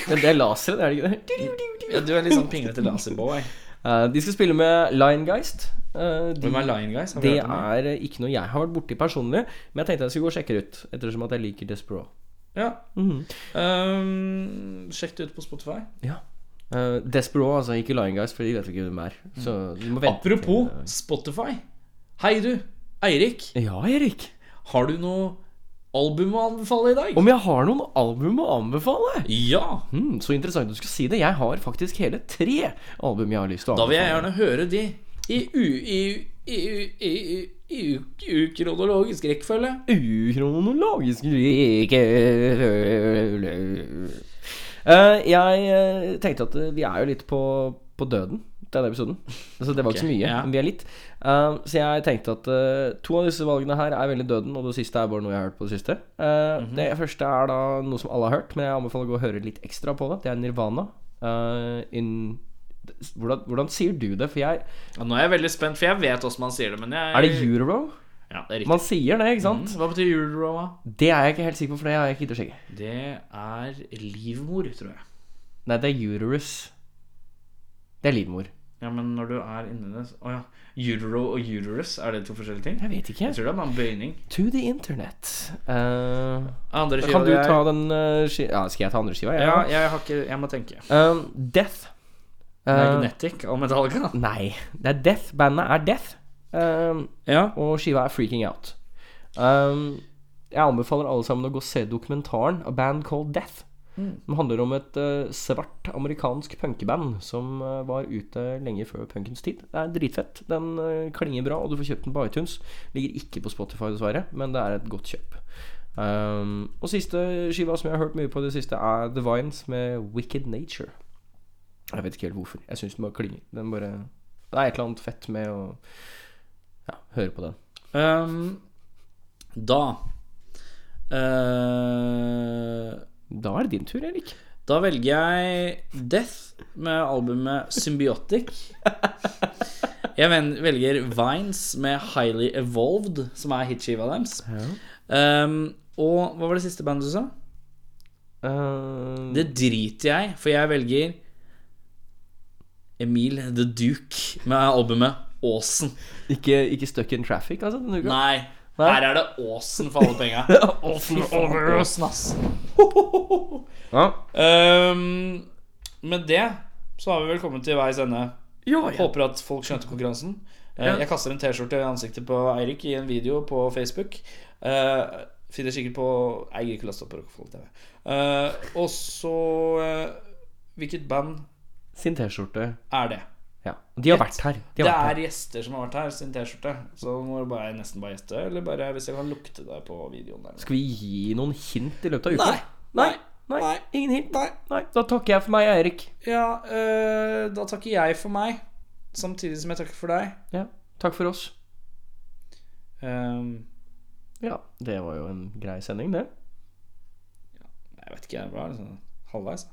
[SPEAKER 6] Men det er lasere, det er det ikke det?
[SPEAKER 5] Ja, du er litt sånn pinglete laserboy.
[SPEAKER 6] Eh, de skal spille med Liongeist. Eh, de-
[SPEAKER 5] Hvem er Lion Guys? Har vi
[SPEAKER 6] Det
[SPEAKER 5] hørt om dem?
[SPEAKER 6] er eh, ikke noe jeg har vært borti personlig, men jeg tenkte jeg skulle gå og sjekke det ut. Ettersom at jeg liker Desperate.
[SPEAKER 5] Ja. Um, sjekk det ut på Spotify.
[SPEAKER 6] Ja. Uh, Despero, altså. Ikke Lion Guys, for de vet ikke hvem de er. Så du må vente.
[SPEAKER 5] Mm. Apropos Spotify. Hei, du. Eirik.
[SPEAKER 6] Ja, Erik.
[SPEAKER 5] Har du noe album å anbefale i dag?
[SPEAKER 6] Om jeg har noen album å anbefale?
[SPEAKER 5] Ja!
[SPEAKER 6] Hmm, så interessant du skal si det. Jeg har faktisk hele tre album jeg har lyst til å
[SPEAKER 5] Da vil
[SPEAKER 6] anbefale.
[SPEAKER 5] jeg gjerne høre de i u... i u... i u... i u... i u... i ukronologisk rekkefølge.
[SPEAKER 6] Ukronologisk rike Eh, Jeg eh, tenkte at eh, vi er jo litt på, på døden denne episoden. Så det var ikke så mye,
[SPEAKER 5] ja.
[SPEAKER 6] men vi er litt. Eh, så jeg tenkte at eh, to av disse valgene her er veldig døden, og det siste er bare noe jeg har hørt på det siste. Eh,
[SPEAKER 5] Mhm.
[SPEAKER 6] Det første er da noe som alle har hørt, men jeg anbefaler å gå og høre litt ekstra på det. Det er Nirvana. eh, in, hvordan, hvordan sier du det? For jeg
[SPEAKER 5] Ja, nå er jeg veldig spent, for jeg vet åssen man sier det, men jeg
[SPEAKER 6] Er det Euro?
[SPEAKER 5] Ja, det er riktig.
[SPEAKER 6] Man sier det, ikke sant?
[SPEAKER 5] Hva betyr euro, da?
[SPEAKER 6] Det er jeg ikke helt sikker på, for det har jeg ikke giddet å sjekke.
[SPEAKER 5] Det er livmor, tror jeg.
[SPEAKER 6] Nei, det er uterus. Det er livmor.
[SPEAKER 5] Ja, men når du er inni det Å ja. Utero og uterus, er det to forskjellige ting?
[SPEAKER 6] Jeg vet ikke.
[SPEAKER 5] Jeg tror det er bare en bøyning.
[SPEAKER 6] To the internet. Eh,
[SPEAKER 5] Andre skiva
[SPEAKER 6] kan du
[SPEAKER 5] det er-
[SPEAKER 6] ta den eh, ski ja, Skal jeg ta andre skiva?
[SPEAKER 5] Ja, jeg har ikke Jeg må tenke.
[SPEAKER 6] Um, Death. Eh,
[SPEAKER 5] Magnetic og Metallica.
[SPEAKER 6] nei, det er Death. Bandet er Death. Um,
[SPEAKER 5] Ja.
[SPEAKER 6] Og skiva er Freaking Out. Um, jeg anbefaler alle sammen å gå og se dokumentaren A Band Called Death. Som handler om et eh, svart amerikansk punkeband som eh, var ute lenge før punkens tid. Det er dritfett. Den eh, klinger bra, og du får kjøpt den på iTunes. Ligger ikke på Spotify, dessverre, men det er et godt kjøp. Um, og siste skiva som jeg har hørt mye på i det siste, er The Vines med Wicked Nature. Jeg vet ikke helt hvorfor. Jeg syns den bare klinger. Den bare Det er et eller annet fett med å ja, høre på den.
[SPEAKER 5] Ehm, da Da er det din tur, Erik. eh, Da velger jeg Death med albumet Symbiotic. Jeg ven- velger Vines med Highly Evolved, som er hitskiva deres. Ehm, og hva var det siste bandet du sa?
[SPEAKER 6] Eh,
[SPEAKER 5] det driter jeg, for jeg velger Emil The Duke med albumet Åsen.
[SPEAKER 6] Ikke, ikke Stuck in Traffic, altså? Denne uka?
[SPEAKER 5] Nei.
[SPEAKER 6] Nei.
[SPEAKER 5] Her er det Åsen for alle penga.
[SPEAKER 6] Åsen,
[SPEAKER 5] Fy faen,
[SPEAKER 6] Åsen.
[SPEAKER 5] Åsen, ass.
[SPEAKER 6] Ja.
[SPEAKER 5] Ehm, med det så har vi vel kommet til veis ende.
[SPEAKER 6] Ja, ja.
[SPEAKER 5] Håper at folk skjønte konkurransen. Eh,
[SPEAKER 6] Ja.
[SPEAKER 5] Jeg kaster en T-skjorte i ansiktet på Eirik i en video på Facebook. Eh, finner sikkert på Jeg gir ikke laste opp på Rockefolk TV. Eh, og så eh, Hvilket band
[SPEAKER 6] Sin T-skjorte.
[SPEAKER 5] er det?
[SPEAKER 6] Ja. De har vært her. De
[SPEAKER 5] det
[SPEAKER 6] har
[SPEAKER 5] er
[SPEAKER 6] vært her.
[SPEAKER 5] gjester som har vært her, sin T-skjorte. Så må du bare, nesten bare gjeste, eller bare hvis jeg kan lukte det på videoen. Der.
[SPEAKER 6] Skal vi gi noen hint i løpet av uka? Nei. Nei. Ingen hint. Nei. Da takker jeg for meg, Eirik.
[SPEAKER 5] Ja, eh, da takker jeg for meg, samtidig som jeg takker for deg.
[SPEAKER 6] Ja, takk for oss.
[SPEAKER 5] Ehm,
[SPEAKER 6] Ja, det var jo en grei sending, det.
[SPEAKER 5] jeg vet ikke, jeg var liksom halvveis.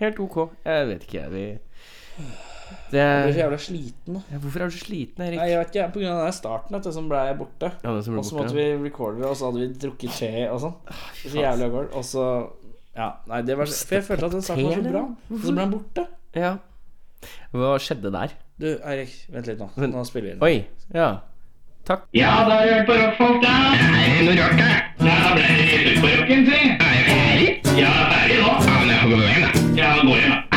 [SPEAKER 6] Helt ok. Jeg vet ikke, jeg. Vi det...
[SPEAKER 5] Jeg blir så jævla sliten.
[SPEAKER 6] Ja, hvorfor er du så sliten, Erik?
[SPEAKER 5] Nei, jeg vet ikke, jeg, på grunn av den starten vet du, som ble jeg borte.
[SPEAKER 6] Ja, den som ble
[SPEAKER 5] og så
[SPEAKER 6] borte,
[SPEAKER 5] måtte vi recorde det, og så hadde vi drukket te og sånn. Så
[SPEAKER 6] faen.
[SPEAKER 5] jævlig av gårde. Og så Ja. Nei, det var For jeg følte at den starten var så bra. Og så ble den borte.
[SPEAKER 6] Ja. Hva skjedde der?
[SPEAKER 5] Du, Eirik, vent litt nå. Nå spiller vi inn.
[SPEAKER 6] Oi. Ja. Takk.
[SPEAKER 13] da har du hørt på rockfolk, da. Er det noe rart, da? Da ble det litt ut på rocken, si. Er jeg ferdig? Ja, ferdig nå. Ja, men jeg får gå hjem, da. Ja, gå hjem, da.